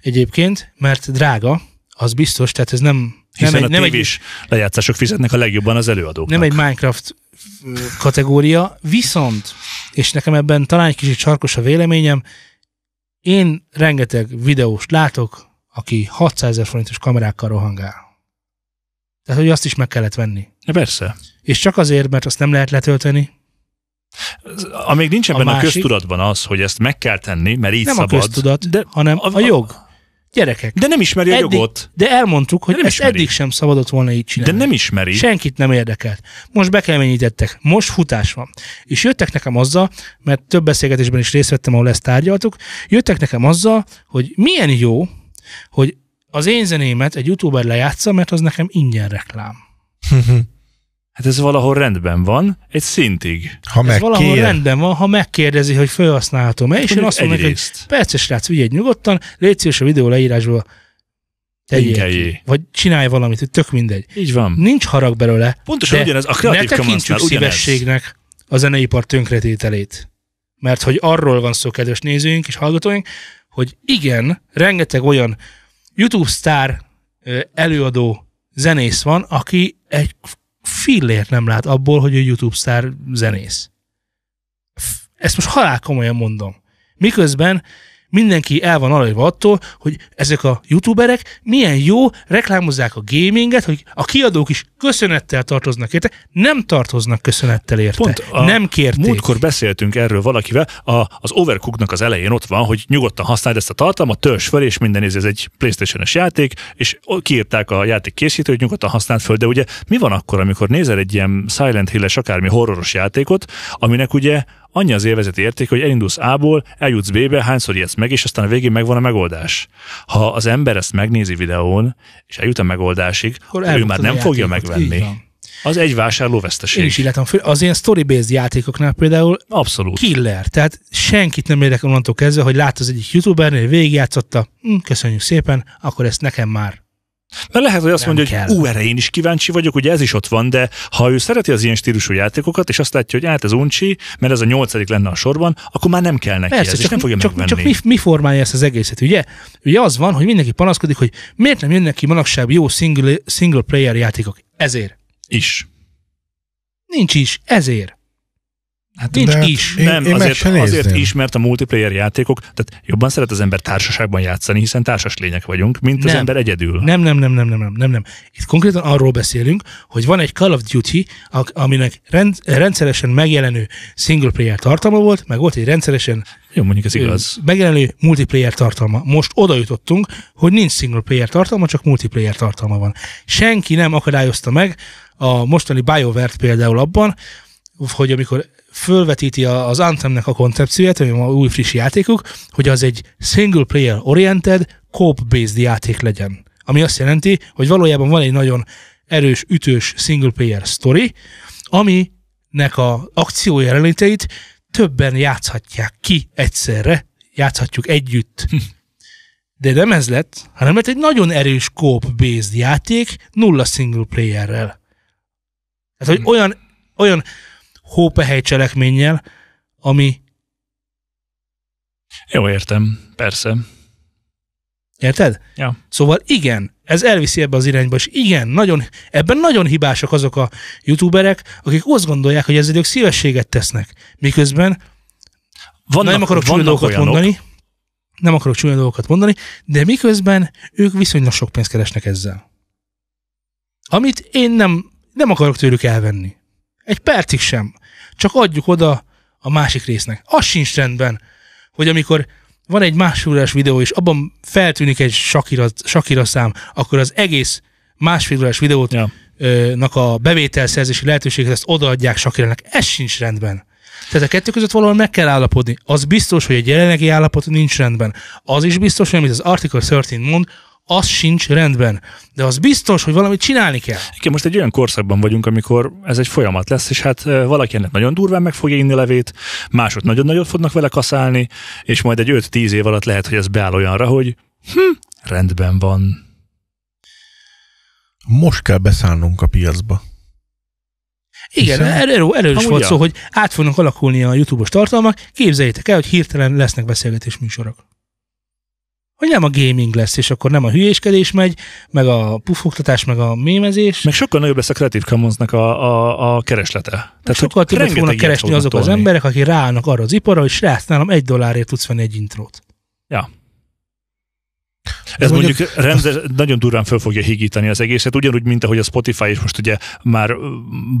A: egyébként, mert drága, az biztos, tehát ez nem, nem,
B: hiszen
A: egy, nem,
B: a
A: egy,
B: tévés lejátszások fizetnek a legjobban az előadóknak.
A: nem egy Minecraft ö, kategória, viszont, és nekem ebben talán egy kicsit sarkos a véleményem, én rengeteg videóst látok, aki 600 ezer forintos kamerákkal rohangál. Tehát, hogy azt is meg kellett venni.
B: Ja, Persze.
A: És csak azért, mert azt nem lehet letölteni,
B: Amíg nincsen
A: A
B: benne a
A: másik-
B: köztudatban az, hogy ezt meg kell tenni, mert így
A: nem
B: szabad.
A: a köztudat, de hanem a, a jog. Gyerekek.
B: De nem ismeri a
A: Eddig,
B: jogot.
A: de elmondtuk, hogy
B: nem
A: nem ezt
B: ismeri.
A: eddig sem szabadott volna így
B: De
A: csinálni.
B: nem ismeri.
A: Senkit nem érdekelt. Most bekeményítettek, most futás van. És jöttek nekem azzal, mert több beszélgetésben is részt vettem, ahol ezt tárgyaltuk, jöttek nekem azzal, hogy milyen jó, hogy az én zenémet egy youtuber lejátsza, mert az nekem ingyen reklám.
B: Hát ez valahol rendben van, egy szintig.
C: Ha
A: Ez valahol
C: megkér,
A: rendben van, ha megkérdezi, hogy felhasználhatom-e, és én azt mondom, neki, hogy
B: egyrészt.
A: perces srác, vigyél nyugodtan, légy szíves a videó leírásból, tegyél ki,
B: Linkeljé.
A: vagy csinálj valamit, hogy tök mindegy.
B: Így van.
A: Nincs harag belőle,
B: Pontosan
A: De
B: ugyanez, a
A: ne
B: kreatív
A: tekintsük
B: Commons-nál ugyanez.
A: szívességnek a zeneipar tönkretételét. Mert hogy arról van szó, kedves nézőink és hallgatóink, hogy igen, rengeteg olyan YouTube sztár ö, előadó zenész van, aki egy fillért nem lát abból, hogy ő YouTube sztár zenész. F- Ezt most halál komolyan mondom. Miközben mindenki el van alajva attól, hogy ezek a youtuberek milyen jó reklámozzák a gaminget, hogy a kiadók is köszönettel tartoznak érte. Nem tartoznak köszönettel érte.
B: Pont a
A: nem kérték.
B: Múltkor beszéltünk erről valakivel, a, az Overcooknak az elején ott van, hogy nyugodtan használd ezt a tartalmat, törzs fel, és minden ez, ez egy Playstation-es játék, és o- kiírták a játék készítő, hogy nyugodtan használd föl, de ugye mi van akkor, amikor nézel egy ilyen Silent Hill-es, akármi horroros játékot, aminek ugye annyi az élvezeti érték, hogy elindulsz A-ból, eljutsz B-be, hányszor ijedsz meg, és aztán a végén megvan a megoldás. Ha az ember ezt megnézi videón, és eljut a megoldásig,
A: Akkor
B: akkor ő
A: elbuktad
B: már
A: a
B: nem fogja
A: játékot. Így
B: megvenni.
A: van.
B: Az egy vásárló
A: Én is
B: veszteség.
A: így látom. Fő- Az ilyen story-based játékoknál például
B: Abszolút.
A: killer. Tehát senkit nem érdekel onnantól kezdve, hogy lát az egyik youtubernél, végigjátszotta, hm, köszönjük szépen, akkor ezt nekem már.
B: Mert lehet, hogy azt
A: Nem
B: mondja, hogy
A: kell.
B: ú, erre én is kíváncsi vagyok, ugye ez is ott van, de ha ő szereti az ilyen stílusú játékokat, és azt látja, hogy hát ez uncsi, mert ez a nyolcadik lenne a sorban, akkor már nem kell neki
A: Persze,
B: ez, és
A: csak,
B: nem fogja
A: csak,
B: megvenni.
A: csak mi, mi formálja ezt az egészet, ugye? Ugye az van, hogy mindenki panaszkodik, hogy miért nem jönnek ki manapság jó single, single player játékok. Ezért.
B: Is.
A: Nincs is, ezért.
B: Hát
A: Nincs
C: de-
A: is.
C: Én-
B: nem,
C: én meg
B: azért,
C: se
B: azért
C: nézném.
B: is, mert a multiplayer játékok, tehát jobban szeret az ember társaságban játszani, hiszen társas lények vagyunk, mint az
A: Nem.
B: ember egyedül.
A: Nem, nem, nem, nem, nem, nem, nem, nem. Itt konkrétan arról beszélünk, hogy van egy Call of Duty, a- aminek rend, rendszeresen megjelenő single player tartalma volt, meg volt egy rendszeresen
B: Jó, mondjuk ez igaz.
A: ö, megjelenő multiplayer tartalma. Most oda jutottunk, hogy nincs single player tartalma, csak multiplayer tartalma van. Senki nem akadályozta meg a mostani BioWare-t például abban, hogy amikor fölvetíti a- az Anthemnek a koncepcióját, ami ma új friss játékuk, hogy az egy single player oriented, co-based játék legyen. Ami azt jelenti, hogy valójában van egy nagyon erős, ütős single player story, aminek a akció jelenléteit többen játszhatják ki egyszerre, játszhatjuk együtt. De nem ez lett, hanem lett egy nagyon erős co-based játék, nulla single playerrel. Tehát, hogy olyan, olyan hópehely cselekménnyel, ami,
B: Jó, értem. Persze.
A: érted?
B: Ja.
A: Szóval igen, ez elviszi ebbe az irányba, és igen, nagyon, ebben nagyon hibásak azok a youtuberek, akik azt gondolják, hogy ezzel ők szívességet tesznek. Miközben
B: Vannak,
A: Na, nem akarok csúnya
B: vannak
A: dolgokat
B: olyanok,
A: mondani, nem akarok csúnya dolgokat mondani, de miközben ők viszonylag sok pénzt keresnek ezzel. Amit én nem, nem akarok tőlük elvenni. Egy percig sem. Csak adjuk oda a másik résznek. Az sincs rendben, hogy amikor van egy másfél órás videó, és abban feltűnik egy Shakira, Shakira szám, akkor az egész másfél órás videót
B: Ja.
A: ö, nak a bevételszerzési lehetőséget, ezt odaadják Sakirának. Ez sincs rendben. Tehát a kettő között valahol meg kell állapodni. Az biztos, hogy egy jelenlegi állapot nincs rendben. Az is biztos, hogy amit az Article 13 mond, az sincs rendben. De az biztos, hogy valamit csinálni kell.
B: Igen, most egy olyan korszakban vagyunk, amikor ez egy folyamat lesz, és hát ö, valaki ennek nagyon durván meg fogja inni levét, mások nagyon nagyot fognak vele kaszálni, és majd egy 5-10 év alatt lehet, hogy ez beáll olyanra, hogy hm, rendben van.
C: most kell beszállnunk a piacba.
A: Igen,
C: Hiszen-
A: erről, erről is
B: Amúgy
A: volt
B: ja.
A: szó, hogy át fognak alakulni a YouTube-os tartalmak. Képzeljétek el, hogy hirtelen lesznek beszélgetés műsorok. Hogy nem a gaming lesz, és akkor nem a hülyéskedés megy, meg a pufogtatás, meg a mémezés.
B: Meg sokkal nagyobb lesz a Creative Commons-nak a, a, a kereslete.
A: Tehát
B: hogy
A: sokkal többet
B: rengeteg
A: fognak
B: ilyet
A: keresni
B: fognak
A: azok az
B: tolni.
A: emberek, akik ráállnak arra az iparra, hogy srác, nálam egy dollárért tudsz venni egy intrót.
B: Ez
C: De
B: mondjuk,
C: mondjuk-
B: mondjuk rendes, nagyon durván föl fogja higítani az egészet, ugyanúgy, mint ahogy a Spotify is most ugye már ö,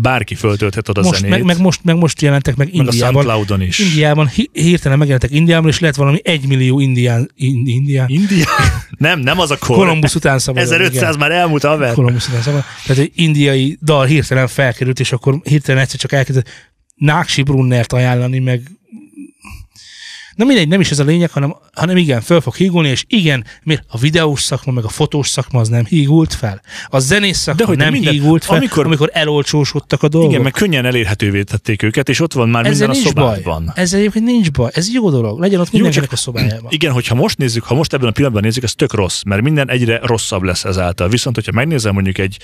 B: bárki föltölthet oda
A: most,
B: zenét,
A: meg, meg, most, meg most jelentek meg,
B: meg a
A: Indiában.
B: Soundcloudon is.
A: Indiában hi- hirtelen megjelentek Indiában, és lett valami egymillió indián, in, indián,
B: India? Nem, nem az a kor.
A: Kolumbusz után szabad.
B: 1500 már elmúlt haver.
A: Kolumbusz után szabad. Tehát egy indiai dal hirtelen felkerült, és akkor hirtelen egyszer csak elkezdett Náksi Brunnert ajánlani, meg Na mindegy, nem is ez a lényeg, hanem, hanem igen, föl fog hígulni, és igen, miért a videós szakma, meg a fotós szakma az nem hígult fel. A zenész szakma
B: Dehogy, de
A: nem
B: minden-
A: hígult fel, amikor,
B: amikor-
A: amikor elolcsósodtak a dolgok.
B: Igen, meg könnyen elérhetővé tették őket, és ott van már
A: Ezzel
B: minden a
A: nincs baj.
B: szobádban.
A: Ez egyébként nincs baj. Ez jó dolog. Legyen ott mindenkinek
B: csak-
A: a szobájában.
B: Igen, hogyha most nézzük, ha most ebben a pillanatban nézzük, ez tök rossz, mert minden egyre rosszabb lesz ezáltal. Viszont, hogyha megnézem mondjuk egy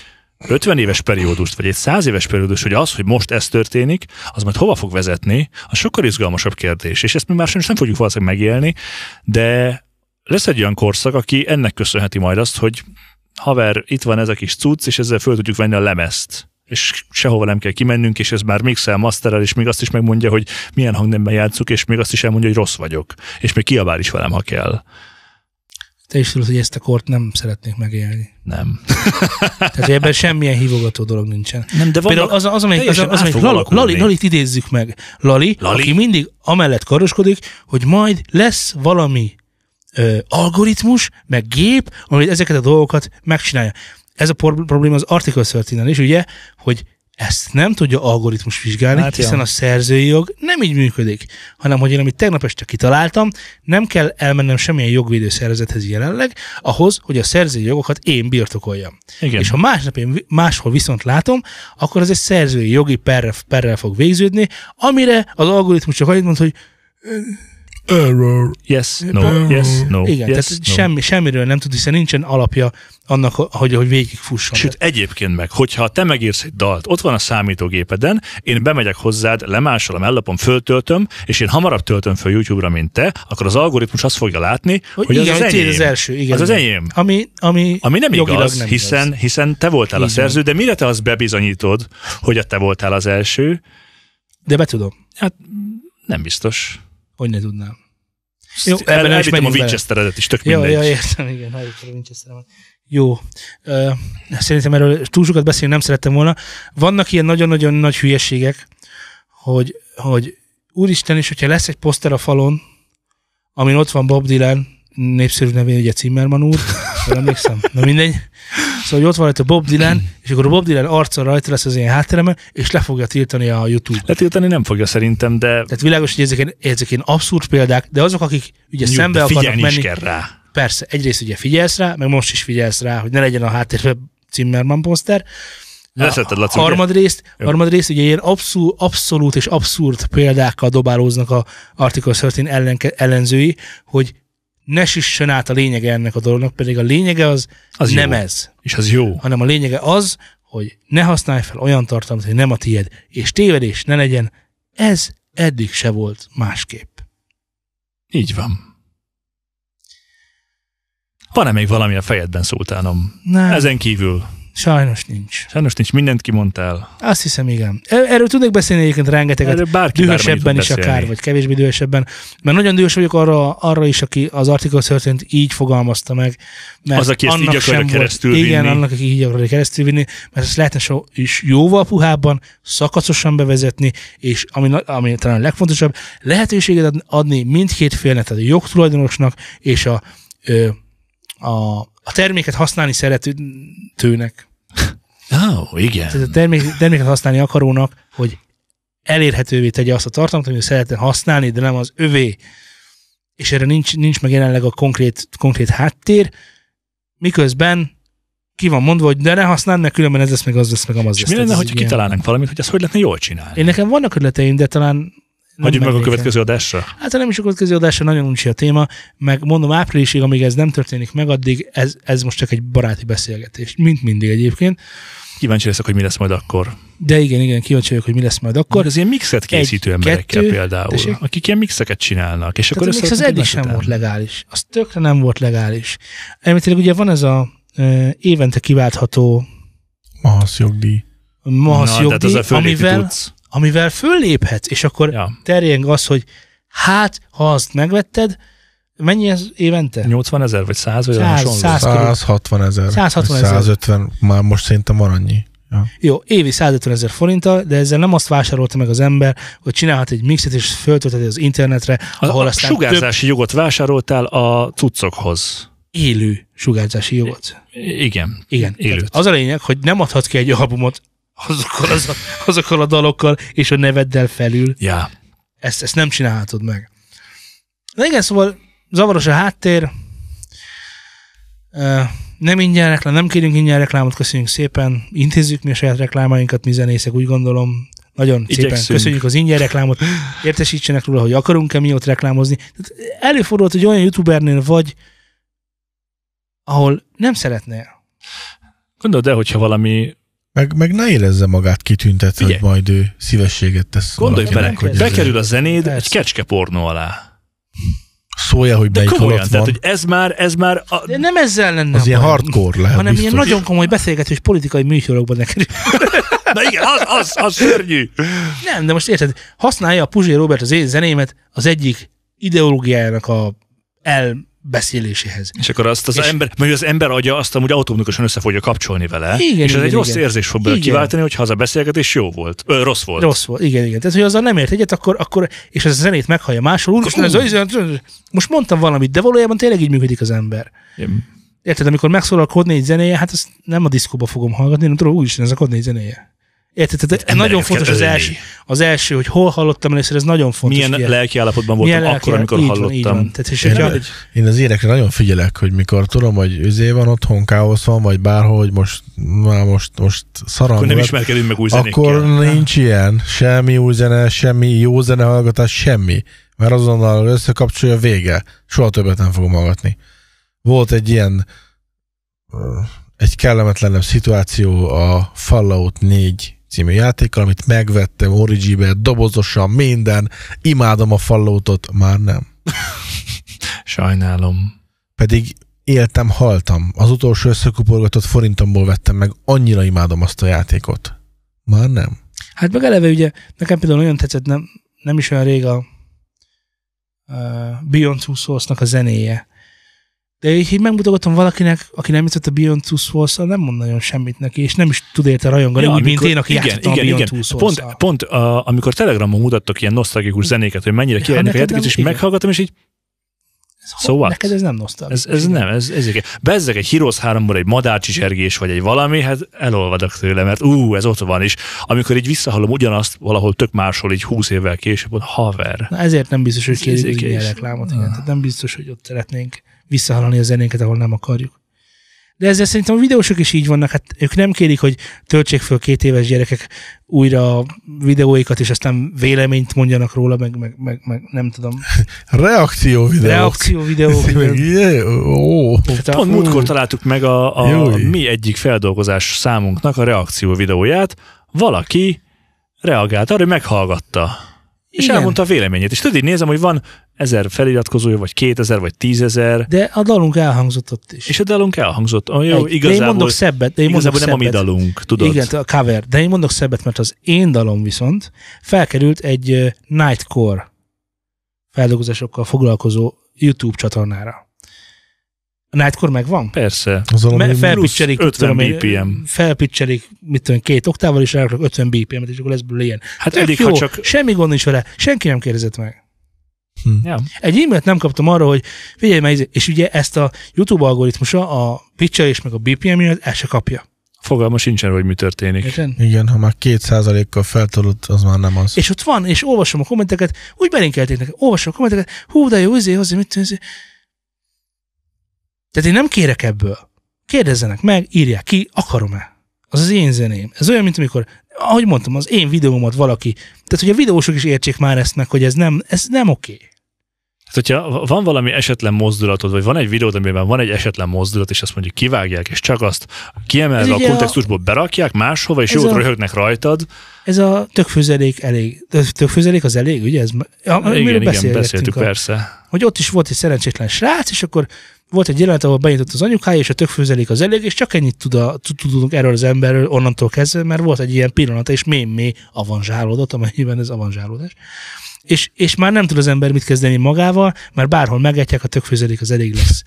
B: 50 éves periódust, vagy egy 100 éves periódus, hogy az, hogy most ez történik, az majd hova fog vezetni, az sokkal izgalmasabb kérdés. És ezt mi már sajnos nem fogjuk valószínűleg megélni, de lesz egy olyan korszak, aki ennek köszönheti majd azt, hogy haver, itt van ez a kis cucc, és ezzel föl tudjuk venni a lemezt és sehova nem kell kimennünk, és ez már mixel, masterrel, és még azt is megmondja, hogy milyen hangnemben játszuk, és még azt is elmondja, hogy rossz vagyok, és még kiabál is velem, ha kell.
A: Te is tudod, hogy ezt a kort nem szeretnék megélni.
B: Nem.
A: Tehát hogy ebben semmilyen hívogató dolog nincsen.
B: Nem, de
A: Például az, az, amelyik, az,
B: teljesen
A: az,
B: át
A: amelyik
B: fog
A: Lali,
B: alakulni.
A: Lali, Lalit idézzük meg. Lali, Lali,
B: Lali?
A: aki mindig amellett karoskodik, hogy majd lesz valami ö, algoritmus, meg gép, amit ezeket a dolgokat megcsinálja. Ez a por- probléma az Article 13 is, ugye, hogy ezt nem tudja algoritmus vizsgálni, hát
B: Hát, ja.
A: hiszen a szerzői jog nem így működik, hanem hogy én, amit tegnap este kitaláltam, nem kell elmennem semmilyen jogvédő szervezethez jelenleg, ahhoz, hogy a szerzői jogokat én birtokoljam.
B: Igen.
A: És ha másnap én vi- máshol viszont látom, akkor az egy szerzői jogi perre, perrel fog végződni, amire az algoritmus csak annyit mond, hogy
C: Error.
B: Yes, no, yes, no,
A: igen,
B: yes,
A: tehát
B: no.
A: semmi, semmiről nem tud, hiszen nincsen alapja annak, hogy, hogy végigfusson.
B: Sőt, egyébként meg, hogyha te megírsz egy dalt, ott van a számítógépeden, én bemegyek hozzád, lemásolom, ellapom, föltöltöm, és én hamarabb töltöm föl YouTube-ra, mint te, akkor az algoritmus azt fogja látni, hogy,
A: igen,
B: az, az,
A: tiéd
B: enyém.
A: az első. Igen,
B: az az
A: igen.
B: enyém.
A: Ami, ami,
B: Ami nem
A: jogilag
B: igaz,
A: nem
B: hiszen,
A: Igaz.
B: hiszen te voltál a
A: Így van.
B: szerző, de mire te azt bebizonyítod, hogy a te voltál az első?
A: De be tudom,
B: Hát nem biztos.
A: hogy ne tudnám.
B: Ezt
A: Jó, ebben
B: el,
A: nem is
B: elvittem a
A: menjünk bele.
B: Winchesteredet is, tök
A: Ja,
B: mindegy.
A: ja, értem, igen, halljuk a Winchesteremet. Jó. Ö, Szerintem erről túl sokat beszélni nem szerettem volna. Vannak ilyen nagyon-nagyon nagy hülyeségek, hogy, hogy úristen is, hogyha lesz egy poszter a falon, amin ott van Bob Dylan, népszerű nevén ugye Zimmerman úr, jól emlékszem, na mindegy. Szóval, hogy ott van rajta Bob Dylan, és akkor a Bob Dylan arca rajta lesz az én hátteremben, és le fogja tiltani a YouTube.
B: Letiltani nem fogja szerintem, de,
A: Tehát világos, hogy ezek, ilyen- ezek ilyen abszurd példák, de azok, akik ugye
B: Jó,
A: szembe
B: de
A: akarnak
B: figyelni is
A: menni,
B: kell rá.
A: persze, egyrészt ugye figyelsz rá, meg most is figyelsz rá, hogy ne legyen a háttérben Zimmerman poszter.
B: Leszetted, Laci, ugye?
A: harmadrészt, harmadrészt ugye ilyen abszol, abszolút és abszurd példákkal dobálóznak a Article 13 ellen, ellenzői, hogy ne süssön át a lényege ennek a dolognak, pedig a lényege az,
B: Az
A: az nem
B: jó.
A: ez,
B: És az jó.
A: hanem a lényege az, hogy ne használj fel olyan tartalmat, hogy nem a tied, és tévedés ne legyen, ez eddig se volt másképp.
B: Így van. Van-e még valami a fejedben, szultánom?
A: Nem, ez
B: Ezen kívül.
A: sajnos nincs.
B: Sajnos nincs, mindent kimondtál.
A: Azt hiszem, igen. Er- Erről tudnék beszélni egyébként rengeteget,
B: Erről bárki
A: dühösebben
B: bármennyit
A: is
B: tud
A: akár,
B: beszélni.
A: vagy kevésbé dühösebben. Mert nagyon dühös vagyok arra, arra is, aki az Article 13 így fogalmazta meg. Mert
B: Az, aki ezt így
A: annak
B: akarja
A: sem volt-
B: keresztül
A: Igen,
B: vinni.
A: annak, aki így akarja keresztül vinni, mert ezt lehetne so, is jóval puhábban, szakacosan bevezetni, és ami, na- ami talán a legfontosabb, lehetőséget ad- adni mindkét félnek, tehát a jogtulajdonosnak és a, ö, a, a terméket használni szeretőnek
B: Ó, oh,
A: tehát
B: igen.
A: a termék, terméket használni akarónak, hogy elérhetővé tegye azt a tartalmat, amit szeretne használni, de nem az övé. És erre nincs, nincs meg jelenleg a konkrét, konkrét háttér, miközben ki van mondva, hogy de ne használd, mert különben ez lesz, meg az lesz, meg amaz
B: És
A: lesz.
B: mi lenne,
A: Tehát ez
B: hogy
A: egy ilyen-
B: kitalálnánk valamit, hogy ezt hogy lehetne jól csinálni?
A: Én nekem vannak ötleteim, de talán nem
B: Hagyjuk meg a
A: mennék el.
B: következő adásra.
A: Hát ha nem is a következő adásra nagyon uncsi a téma, meg mondom áprilisig, amíg ez nem történik meg, addig ez, ez most csak egy baráti beszélgetés, mint mindig egyébként.
B: Kíváncsi leszek, hogy mi lesz majd akkor.
A: De igen, igen, kíváncsi vagyok, hogy mi lesz majd akkor.
B: Akkor az ilyen mixet készítő
A: Egy,
B: emberekkel
A: kettő,
B: például,
A: tessék.
B: akik ilyen mixeket csinálnak. És
A: Tehát
B: akkor
A: akkor mix az
B: összeraknak
A: eddig
B: egymás
A: sem
B: után.
A: volt legális. Az tökre nem volt legális. Elméletileg ugye van ez a ö, évente kiváltható
C: Mahasz jogdíj.
A: mahasz
B: Na, hát tehát
A: jogdíj,
B: azzal föllépni
A: amivel,
B: tudsz.
A: amivel fölléphetsz, és akkor ja.
B: Ja,
A: terjeng az, hogy hát, ha azt megvetted, mennyi ez évente?
B: 80 ezer vagy 100 vagy
A: 100,
B: olyan hasonló.
A: 100. körül.
C: 160 ezer.
A: 160 ezer.
C: 150, már most szerintem van annyi. Ja.
A: Jó, évi 150 ezer forinttal, de ezzel nem azt vásárolta meg az ember, hogy csinálhat egy mixet, és föltöltheti az internetre,
B: A,
A: ahol
B: a
A: aztán több
B: sugárzási jogot vásároltál a cuccokhoz.
A: élő sugárzási jogot.
B: Igen.
A: Igen.
B: Élőt.
A: Tehát Az a lényeg, hogy nem adhatsz ki egy albumot azokkal, az, azokkal a dalokkal és a neveddel felül.
B: Ja.
A: Ezt, ezt nem csinálhatod meg. De igen, szóval zavaros a háttér. Ö, Nem ingyen reklám, nem kérünk ingyen reklámot, köszönjük szépen. Intézzük mi a saját reklámainkat, mi zenészek, úgy gondolom. Nagyon szépen
B: Igyekszünk.
A: köszönjük az ingyen reklámot. Értesítsenek róla, hogy akarunk-e mi ott reklámozni. Tehát előfordulhat, hogy olyan youtubernél vagy, ahol nem szeretnél.
B: Gondold el, hogyha valami...
C: Meg, meg ne érezze magát kitüntet, hogy
B: Figyelj.
C: majd ő szívességet tesz.
B: Gondolj
A: Valakinek,
B: bele, hogy
C: valakinek,
A: hogy
C: ez-
B: bekerül a zenéd
A: Persze.
B: egy kecske pornó alá.
C: Szója, hogy
B: De
C: melyik
B: komolyan,
C: halott van.
B: tehát, hogy ez már, ez már a,
A: De nem ezzel lenne
C: az
A: a
C: ilyen
A: baj,
C: hardcore lehet
A: hanem
C: biztos.
A: ilyen nagyon komoly beszélgetős politikai műsorokban ne kerül.
B: Na igen, az, az, az szörnyű.
A: Nem, de most érted, használja a Puzsé Robert az én zenémet az egyik ideológiájának a elbeszéléséhez.
B: És akkor azt az
A: És-
B: ember, mert az ember agya azt amúgy automatikusan össze fogja kapcsolni vele,
A: Igen,
B: és ez
A: igen,
B: egy rossz
A: igen.
B: érzés fog belőle
A: Igen.
B: kiváltani, hogyha az a beszélgetés jó volt, ö, rossz volt.
A: Rossz volt, igen, igen. Tehát, hogy azzal nem ért egyet, akkor, akkor és ez a zenét meghallja máshol, úr, ez
B: izé-
A: az, most mondtam valamit, de valójában tényleg így működik az ember.
B: Igen.
A: Érted, amikor megszólal a Code 4 zenéje, hát ezt nem a diszkóba fogom hallgatni, hanem tudom, úristen, ez a Code 4 zenéje. Érted, tehát
B: embereket
A: nagyon fontos az
B: ölni.
A: első, az első, hogy hol hallottam először, ez nagyon fontos.
B: Milyen
A: figyelj.
B: lelki állapotban voltam
A: Milyen
B: akkor,
A: lelki- hát
B: amikor
A: így Van, így
B: hallottam.
A: van. Tehát, és
C: Én,
A: hogyha,
C: nem- én az énekre nagyon figyelek, hogy mikor tudom, hogy üzé van otthon, káosz van, vagy bárhol, hogy most, már most, most szaram.
B: Akkor nem
C: lett,
B: ismerkedünk meg új zenékkel.
C: akkor nincs ilyen. Semmi új zene, semmi jó zene hallgatás, semmi. Mert azonnal összekapcsolja vége. Soha többet nem fogom hallgatni. Volt egy ilyen ö, egy kellemetlenebb szituáció a Fallout 4 című játékkal, amit megvettem Origi-be, dobozosan, minden. Imádom a Falloutot, már nem
B: Sajnálom.
C: pedig éltem, haltam. Az utolsó összekuporgatott forintomból vettem meg, annyira imádom azt a játékot. Már nem.
A: Hát meg eleve ugye, nekem például nagyon tetszett, nem, nem is olyan rég a uh, Beyond Two Souls-nak a zenéje. De így, így megmutogatom valakinek, aki nem jutott a Beyond Two souls nem mond nagyon semmit neki, és nem is tud érte rajongani, ja, úgy, mint én, aki igen, játszottam igen, a Beyond igen. Two souls
B: Pont, pont a, amikor Telegramon mutattak ilyen nosztalgikus zenéket, hogy mennyire
A: Ja,
B: királynak a
A: neked
B: játékot,
A: Hát nem-
B: és
A: igen.
B: meghallgatom, és így so what?
A: Szóval Neked ez nem nosztalgikus.
B: ez, ez nem, ez, ez igen. Bezzeg egy Heroes 3-ból egy madárcsicsergés, vagy egy valami, hát elolvadok tőle, mert ú, ez ott van is. Amikor így visszahallom ugyanazt valahol tök máshol, így 20 évvel később, ott haver.
A: Na ezért nem biztos, hogy
B: Ez
A: kérjük az
B: érzékeny
A: ingyen
B: is. Ah.
A: reklámot. Igen. Tehát nem biztos, hogy ott szeretnénk visszahallani a zenénket, ahol nem akarjuk. De ezzel szerintem a videósok is így vannak, hát ők nem kérik, hogy töltsék föl két éves gyerekek újra a videóikat, és aztán véleményt mondjanak róla, meg, meg, meg, meg nem tudom,
C: Reakció videók.
A: reakció videók.
C: Ez meg- Jé, Ó,
A: Tehát a-
B: Pont
A: ú,
B: múltkor találtuk meg a, a
C: Júj.
B: mi egyik feldolgozás számunknak a reakció videóját. Valaki reagált arra, hogy meghallgatta. És
A: igen.
B: elmondta a véleményét. És tudod, így nézem, hogy van ezer feliratkozója, vagy kétezer, vagy tízezer,
A: De a dalunk elhangzott ott is.
B: és a dalunk elhangzott. Oh, jó,
A: Egy- de én
B: igazából,
A: mondok szebbet, de én mondok
B: igazából nem a mi
A: szebbet.
B: dalunk, tudod?
A: Igen, a cover. De én mondok szebbet, mert az én dalom viszont felkerült egy ö, Nightcore feldolgozásokkal foglalkozó YouTube csatornára. A Nightcore megvan?
B: Persze.
C: az valami
A: Me- felpicselik,
B: plusz
A: mit tudom én,
B: 50 BPM.
A: Felpicselik, mit tudom, én, két oktával, és ráraknak 50 BPM-et, és akkor lesz belőle ilyen.
B: Hát
A: Tök
B: eddig,
A: jó,
B: ha csak...
A: Semmi gond nincs vele, senki nem kérdezett meg.
C: Hm.
B: Ja.
A: Egy e-mailt nem kaptam arra, hogy figyelj már, izé- és ugye ezt a YouTube algoritmusa, a picture és meg a BPM miatt el se kapja.
B: Fogalma sincsen, hogy mi történik.
A: Érted?
C: Igen, ha már két százalékkal feltolod, az már nem az.
A: És ott van, és olvasom a kommenteket, úgy belinkelték nekem, olvasom a kommenteket, hú, de jó, izé, hozzá, mit tűzi. Tehát én nem kérek ebből. Kérdezzenek meg, írják ki, akarom-e. Az az én zeném. Ez olyan, mint amikor, ahogy mondtam, az én videómat valaki. Tehát, hogy a videósok is értsék már ezt meg, hogy ez nem, ez nem oké.
B: Hát, hogyha van valami esetlen mozdulatod, vagy van egy videód, amiben van egy esetlen mozdulat, és azt mondjuk kivágják, és csak azt
A: Ez
B: kiemelve a
A: ugye a-
B: kontextusból berakják máshova, és
A: Ez
B: jót
A: a-
B: röhögnek rajtad.
A: Ez a tökfőzelék elég. Tökfőzelék az elég, ugye? Ez, a,
B: igen, igen,
A: beszélgettünk
B: beszéltük,
A: a-
B: persze.
A: hogy ott is volt egy szerencsétlen srác, és akkor volt egy jelenet, ahol benyitott az anyukája, és a tökfőzelék az elég, és csak ennyit tud a, tud- tudunk erről az emberről onnantól kezdve, mert volt egy ilyen pillanat, és mémé avanzsálódott, amennyiben ez avanzsálódás. És, és már nem tud az ember mit kezdeni magával, mert bárhol megetják, a tökfőzelék az elég lesz.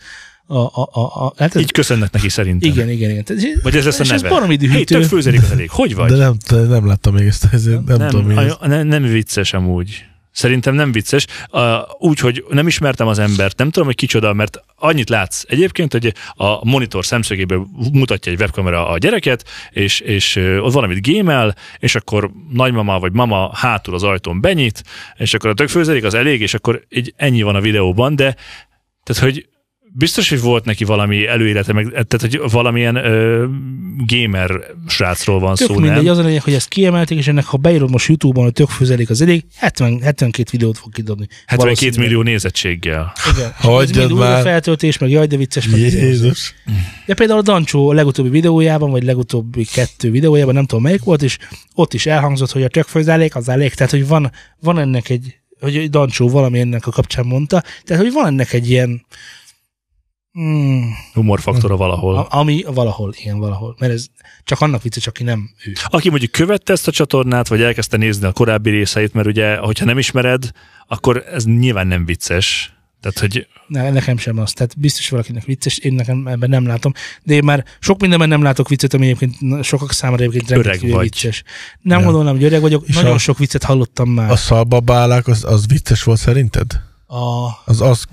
A: A, a, a, a, hát ez,
B: Így köszönnek neki szerintem.
A: igen, igen, igen. Tehát-
B: Vagy ez lesz a
A: és
B: neve.
A: ez baromi
B: Hé,
A: dühítő.
B: tök főzelik az elég. Hogy vagy?
C: De nem, de nem láttam még ezt, ezért nem, nem tudom mi
B: anya-
C: ez.
B: ne- nem vicces amúgy. Szerintem nem vicces. A- Úgy, hogy nem ismertem az embert, nem tudom, hogy kicsoda, mert annyit látsz egyébként, hogy a monitor szemszögéből mutatja egy webkamera a gyereket, és, és ö, ott valamit gémel, és akkor nagymama vagy mama hátul az ajtón benyit, és akkor a tökfőzelék az elég, és akkor így ennyi van a videóban, de tehát, hogy biztos, hogy volt neki valami előélete, meg, tehát, hogy valamilyen ö, gamer srácról van
A: Tök
B: szó,
A: mindegy,
B: nem?
A: az a lényeg, hogy ezt kiemelték, és ennek, ha beírod most YouTube-on, hogy tök főzelék az elég, 70, 72 videót fog kidobni.
B: 72
A: Valószínűleg.
B: millió nézettséggel.
A: Igen.
C: Hagyjad
A: Hagyjad már.
C: már.
A: feltöltés, meg jaj, de vicces. Meg
C: Jézus.
A: De például a Dancsó a legutóbbi videójában, vagy legutóbbi kettő videójában, nem tudom melyik volt, és ott is elhangzott, hogy a tökfőzelék az elég. Tehát, hogy van, van ennek egy, hogy Dancsó valami ennek a kapcsán mondta, tehát, hogy van ennek egy ilyen Mm,
B: Humorfaktora
C: Hm.
B: valahol.
A: a- ami valahol, igen, valahol. Mert ez csak annak vicces, aki nem ő.
B: Aki mondjuk követte ezt a csatornát, vagy elkezdte nézni a korábbi részeit, mert ugye, hogyha nem ismered, akkor ez nyilván nem vicces. Tehát, hogy
A: Ne, nekem sem az. Tehát biztos valakinek vicces, én nekem ebben nem látom. De én már sok mindenben nem látok viccet, ami egyébként na- sokak számára egyébként
B: Öreg
A: rendkívül
B: vagy.
A: vicces. Nem
C: Ja.
A: gondolnám, hogy öreg vagyok,
C: És
A: nagyon
C: a-
A: sok viccet hallottam már.
C: A szalbabálák, az, az vicces volt szerinted?
A: A...
C: Az az...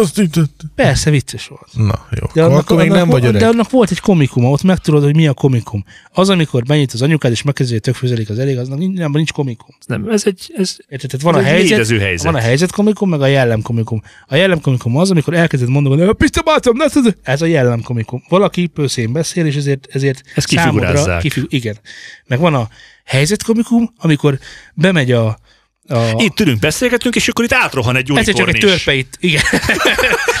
C: Azt ütött.
A: Persze vicces volt.
C: Na, jó. akkor, akkor még nem vagy
A: vo-
C: öreg.
A: de annak volt egy komikuma, ott megtudod, hogy mi a komikum. Az, amikor benyit az anyukád, és megkezdi, hogy tök főzelik az elég, az nem, nem, nincs komikum.
B: ez nem, ez egy, ez,
A: Érted? Tehát van
B: Ez
A: a
B: egy
A: helyzet,
B: létező helyzet.
A: van a helyzet komikum, meg a jellem komikum. A jellem komikum az, amikor elkezded mondani, hogy Pista bátom, ne tudod, ez a jellem komikum. Valaki pőszén beszél, és ezért, ezért
B: Ezt
A: számodra
B: kifigurázzák.
A: kifigu- igen. Meg van a helyzet komikum, amikor bemegy a, a
B: itt tülünk, beszélgetünk, és akkor itt átrohan egy
A: egyszer csak
B: unikorn
A: egy
B: is.
A: törpeit, igen.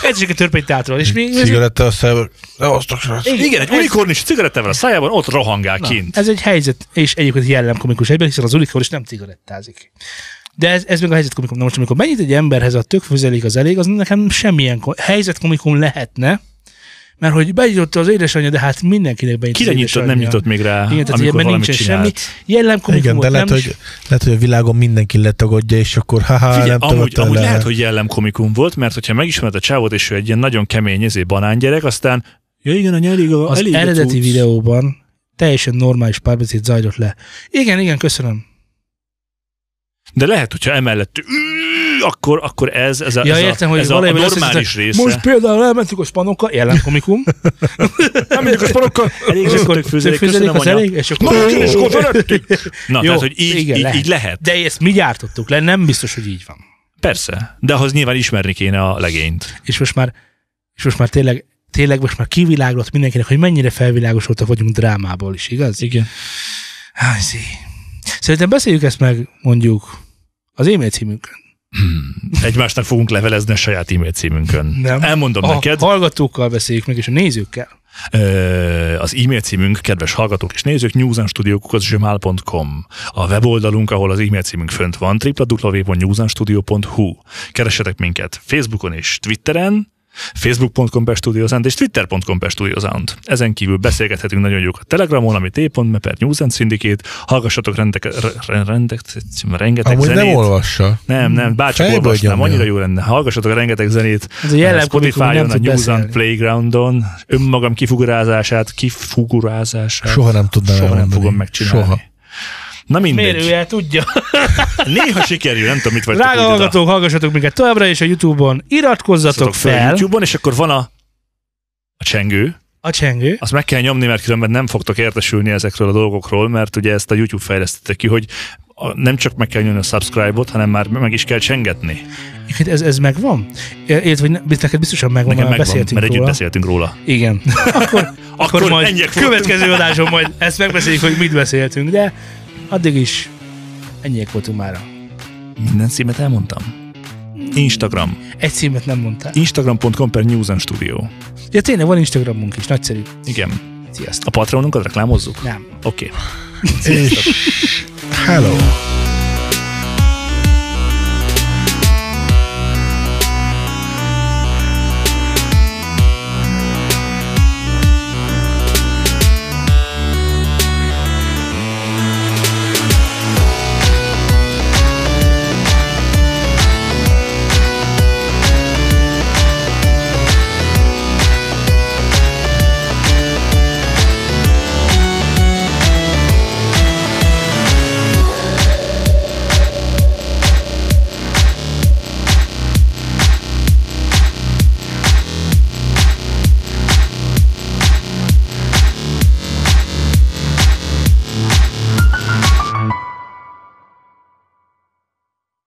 A: egyszer csak egy törpeit teátról. És mi, ez,
C: Cigaretta a szájba. Ne osztok, srác.
B: Igen, egy
A: ez-
B: unikorn is cigarettával a szájában, ott rohangál kint.
A: Ez egy helyzet, és egyébként jellemkomikus egyben, hiszen az unikor is nem cigarettázik. De ez, ez még a helyzetkomikum. Na most, amikor mennyit egy emberhez a tök főzelék az elég, az nekem semmilyen ko- helyzetkomikum lehetne, mert hogy benyitotta az édesanyja, de hát mindenkinek benyitott
B: Kire
A: az
B: nyitott, nem
A: édesanyja.
B: nyitott még rá,
A: Igen, tehát
B: amikor
A: ilyenben
B: valamit
A: nincsen semmi.
B: csinált.
A: Jellemkomikum
C: Igen, de
A: volt,
C: lehet
A: nem is-
C: hogy, lehet, hogy a világon mindenki letagadja, és akkor ha
B: Figyelj,
C: nem
B: amúgy,
C: tagadtál
B: amúgy
C: le.
B: lehet, hogy jellemkomikum volt, mert hogyha megismered a csávot, és ő egy ilyen nagyon kemény, ezért banángyerek, aztán ja igen, a elég a,
A: az
B: elég a
A: eredeti
B: cucc.
A: videóban teljesen normális párbeszéd zajlott le. Igen, igen, köszönöm.
B: De lehet, hogyha emellett "Ű", akkor, akkor ez, ez a,
A: Ja,
B: ez
A: értem,
B: a,
A: hogy
B: ez a
A: valójában
B: normális
A: összeszedett.
B: része.
A: Most például elmentünk a spanokkal, jellemkomikum,
B: nem mondjuk a sporokkal. Elég
A: és akkor
B: zögtök főzelék, köszönöm,
A: az
B: anya.
A: elég, és akkor...
B: Nagyon is konferettük. Na,
A: Jó,
B: tehát, hogy így,
A: igen,
B: így,
A: lehet.
B: így lehet.
A: De ezt mi gyártottuk le, nem biztos, hogy így van.
B: Persze. De ahhoz nyilván ismerni kéne a legényt.
A: És most már, és most már tényleg, tényleg most már kiviláglott mindenkinek, hogy mennyire felvilágosultak vagyunk drámából is, igaz?
B: Igen.
A: Háj, zé. Szerintem beszéljük ezt meg mondjuk az e-mail címünkön.
B: Egymásnak fogunk levelezni a saját e-mail címünkön.
A: Nem.
B: Elmondom
A: A
B: neked.
A: hallgatókkal beszéljük meg, és a nézőkkel.
B: Ö, az e-mail címünk, kedves hallgatók és nézők, newsanstudio.com. A weboldalunk, ahol az e-mail címünk fönt van, www.newsanstudio.hu. Keressetek minket Facebookon és Twitteren, facebook.com per Studiosound és twitter.com per Studiosound. Ezen kívül beszélgethetünk nagyon jókat Telegramon, ami t.me per News and Syndicate. Hallgassatok rendek, re- re- rendek, rengeteg
C: Amúgy
B: zenét.
C: nem olvassa.
B: Nem, nem, bárcsak
C: Fejből
B: olvasnám,
C: gyomja.
B: annyira jó lenne. Hallgassatok a rengeteg zenét
A: Ez a jellem komikum,
B: Spotify-on,
A: nem
B: a
A: tud
B: News and
A: beszélni.
B: Playgroundon, önmagam kifugurázását, kifugurázását
C: Soha nem tudnám
B: soha nem
C: elmondani.
B: fogom megcsinálni.
C: Soha.
B: Na mindegy,
A: Miért ő el tudja?
B: néha sikerül, nem tudom, mit vagytok
A: Drága
B: úgy oda.
A: hallgatók, hallgassatok minket továbbra is a Youtube-on. Iratkozzatok
B: Hallgassatok fel
A: fel.
B: YouTube-on, és akkor van a a csengő,
A: A csengő.
B: azt meg kell nyomni, mert különben nem fogtok értesülni ezekről a dolgokról, mert ugye ezt a YouTube fejlesztette ki, hogy a- nem csak meg kell nyomni a subscribe-ot, hanem már meg is kell csengetni.
A: Egyébként Hát Ez, ez megvan? Élt, vagy ne, neked biztosan megvan,
B: Nekem
A: mert
B: megvan, mert
A: beszéltünk
B: együtt
A: róla.
B: beszéltünk róla.
A: Igen. Akkor, akkor,
B: Akkor
A: akkor majd
B: ennyiek voltunk.
A: következő adáson majd ezt megbeszéljük, hogy mit beszéltünk, de addig is ennyiek voltunk mára.
B: Minden címet elmondtam. Instagram.
A: Egy címet nem mondtál.
B: Instagram.com per News and Studio.
A: Ja tényleg van Instagramunk is, nagyszerű.
B: Igen.
A: Sziasztok.
B: A Patreonunkat reklámozzuk?
A: Nem.
B: Oké. Okay.
C: És... Hello.